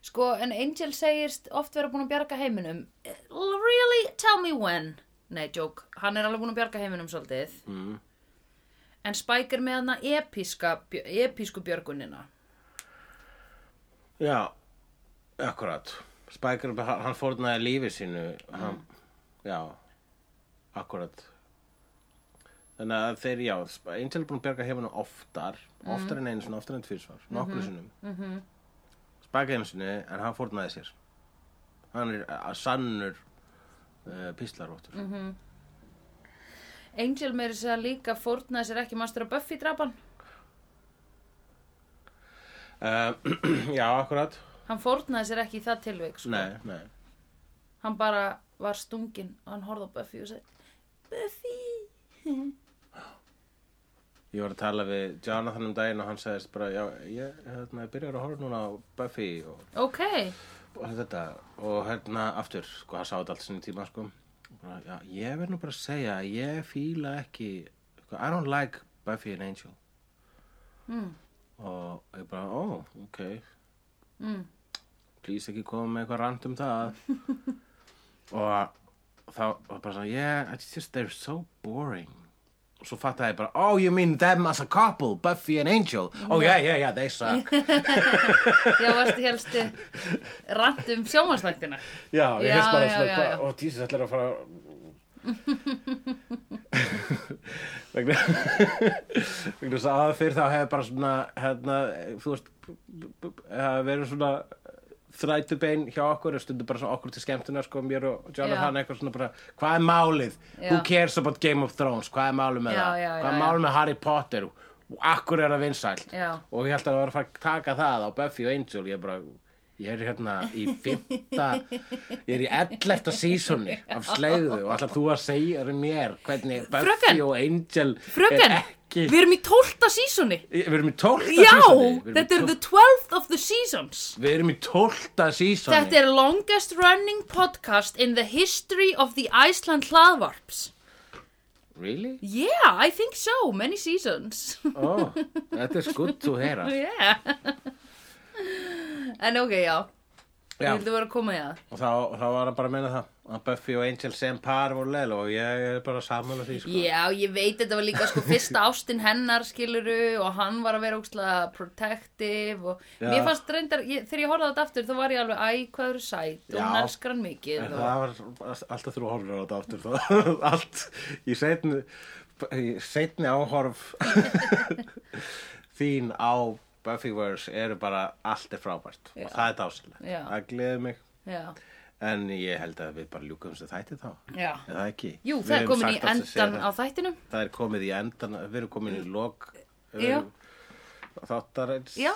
[SPEAKER 1] sko en Angel segist oft vera búin að bjarga heiminum Eh, really tell me when nei joke, hann er alveg búin að bjarga heiminum svolítið mm. en Spike er með hana episka, bjö- episku björgunina
[SPEAKER 2] Já, akkurat. Spike, er- hann hann fórnaði lífi sínu. Hann, Já, akkurat. Þannig að þeir, já, Sp- Angel er búin að bjarga hefinu oftar, oftar en einu sinni, oftar en tvísvar, nokkru sinnum. Mm Spike einu sinni, en hann fórnaði sér. Hann er að sannur uh, píslarvottur.
[SPEAKER 1] Angel meiri segja líka fórnaði sér ekki maður að Buffy drapan
[SPEAKER 2] Uh, já, akkurat.
[SPEAKER 1] Hann fórnaði sér ekki í það tilveik, sko.
[SPEAKER 2] Nei, nei.
[SPEAKER 1] Hann bara var stunginn og hann horfði á Buffy og sagði, Buffy!
[SPEAKER 2] Ég var að tala við Jonathan um daginn og hann sagðist bara, já, ég hérna, byrjar að horfa núna á Buffy og,
[SPEAKER 1] Ok,
[SPEAKER 2] og allt þetta og hérna aftur, sko, hann sá þetta allt sinni tíma, sko. Og Bara, já, ég verð nú bara að segja, að ég fíla ekki, sko, I don't like Buffy and Angel.
[SPEAKER 1] Mm.
[SPEAKER 2] Og ég bara, ó, ok,
[SPEAKER 1] mm.
[SPEAKER 2] please ekki koma með eitthvað rand um það og þá var bara svona yeah, it's just they're so boring og svo fattaði ég bara oh you mean them as a couple, Buffy and Angel oh yeah, yeah, yeah, they suck
[SPEAKER 1] já, varstu helstu rant um sjómanstæktina.
[SPEAKER 2] já, ég
[SPEAKER 1] Já,
[SPEAKER 2] hefst bara
[SPEAKER 1] já, já,
[SPEAKER 2] svona
[SPEAKER 1] já.
[SPEAKER 2] bara, oh Jesus, ætlar að fara vegna vegna þess að fyrir þá hefði bara svona hérna, þú veist hefði verið svona þrætubein hjá okkur, stundu bara svona okkur til skemmtunar sko, mér og Jonathan eitthvað svona bara hvað er málið, who
[SPEAKER 1] Já.
[SPEAKER 2] cares about Game of Thrones hvað er málið með
[SPEAKER 1] Já,
[SPEAKER 2] það,
[SPEAKER 1] já,
[SPEAKER 2] hvað er
[SPEAKER 1] já,
[SPEAKER 2] málið með Harry Potter akkur er það vinsælt
[SPEAKER 1] Já.
[SPEAKER 2] og ég held að það var að fara að taka það á Buffy og Angel, ég bara ég er hérna í fymta ég er í ellert að sísoni af sleiðu og alltaf þú að segja mér hvernig Buffy
[SPEAKER 1] Fröken!
[SPEAKER 2] og Angel
[SPEAKER 1] Fröken,
[SPEAKER 2] er ekki
[SPEAKER 1] við erum í tólta sísoni.
[SPEAKER 2] Við erum í tólta
[SPEAKER 1] Já,
[SPEAKER 2] sísoni
[SPEAKER 1] þetta er the 12th of the seasons.
[SPEAKER 2] Við erum í tólta sísoni
[SPEAKER 1] Þetta er longest running podcast in the history of the Iceland hlaðvarps.
[SPEAKER 2] Really?
[SPEAKER 1] Yeah, I think so, many seasons.
[SPEAKER 2] Oh, þetta er skutt to heyra
[SPEAKER 1] yeah. en ok, já. Ég
[SPEAKER 2] Já,
[SPEAKER 1] vildi vera að koma í það.
[SPEAKER 2] og þá, þá var hann bara að meina það að Buffy og Angel sem par voru leil og ég er bara samanlega því sko.
[SPEAKER 1] Já, ég veit þetta var líka sko fyrsta ástin hennar skiluru og hann var að vera ógstlega protective og
[SPEAKER 2] Já.
[SPEAKER 1] mér fannst reyndar, ég, þegar ég horfði á þetta aftur þá var ég alveg, æ, hvað eru sæt og hún
[SPEAKER 2] Já.
[SPEAKER 1] elskar hann
[SPEAKER 2] En
[SPEAKER 1] mikið og...
[SPEAKER 2] það var alltaf þrjú horfur á þetta aftur þá, allt í seinni, í seinni áhorf þín á Buffyverse eru bara allt er frábært
[SPEAKER 1] Já.
[SPEAKER 2] og það er dásilega,
[SPEAKER 1] Já.
[SPEAKER 2] það gleður mig
[SPEAKER 1] Já,
[SPEAKER 2] en ég held að við bara ljúkum sem þætti þá
[SPEAKER 1] já.
[SPEAKER 2] er það ekki?
[SPEAKER 1] Jú,
[SPEAKER 2] Við
[SPEAKER 1] það er
[SPEAKER 2] höfum
[SPEAKER 1] komin í
[SPEAKER 2] sagt allt sem segir
[SPEAKER 1] endan á
[SPEAKER 2] það.
[SPEAKER 1] þættinum.
[SPEAKER 2] það er komið í endan, við erum komin í lok
[SPEAKER 1] Já.
[SPEAKER 2] um, þáttarins
[SPEAKER 1] Já.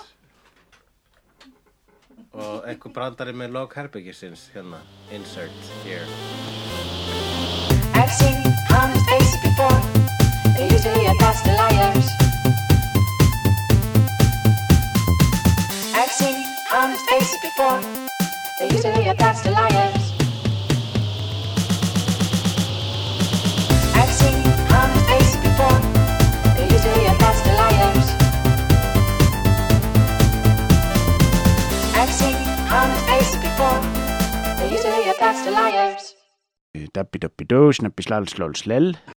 [SPEAKER 2] og eitthvað brandari með lok herbyggisins hérna, insert here
[SPEAKER 3] I've seen honest faces before. They're usually a pass to liars. I've seen honest faces before. They're usually a pass to liars. I've seen honest faces before. They're usually a pass to liars. I've seen honest faces before. They're usually a pass to liars.
[SPEAKER 4] Dabbi dabbi do, snabbi slal slal slel.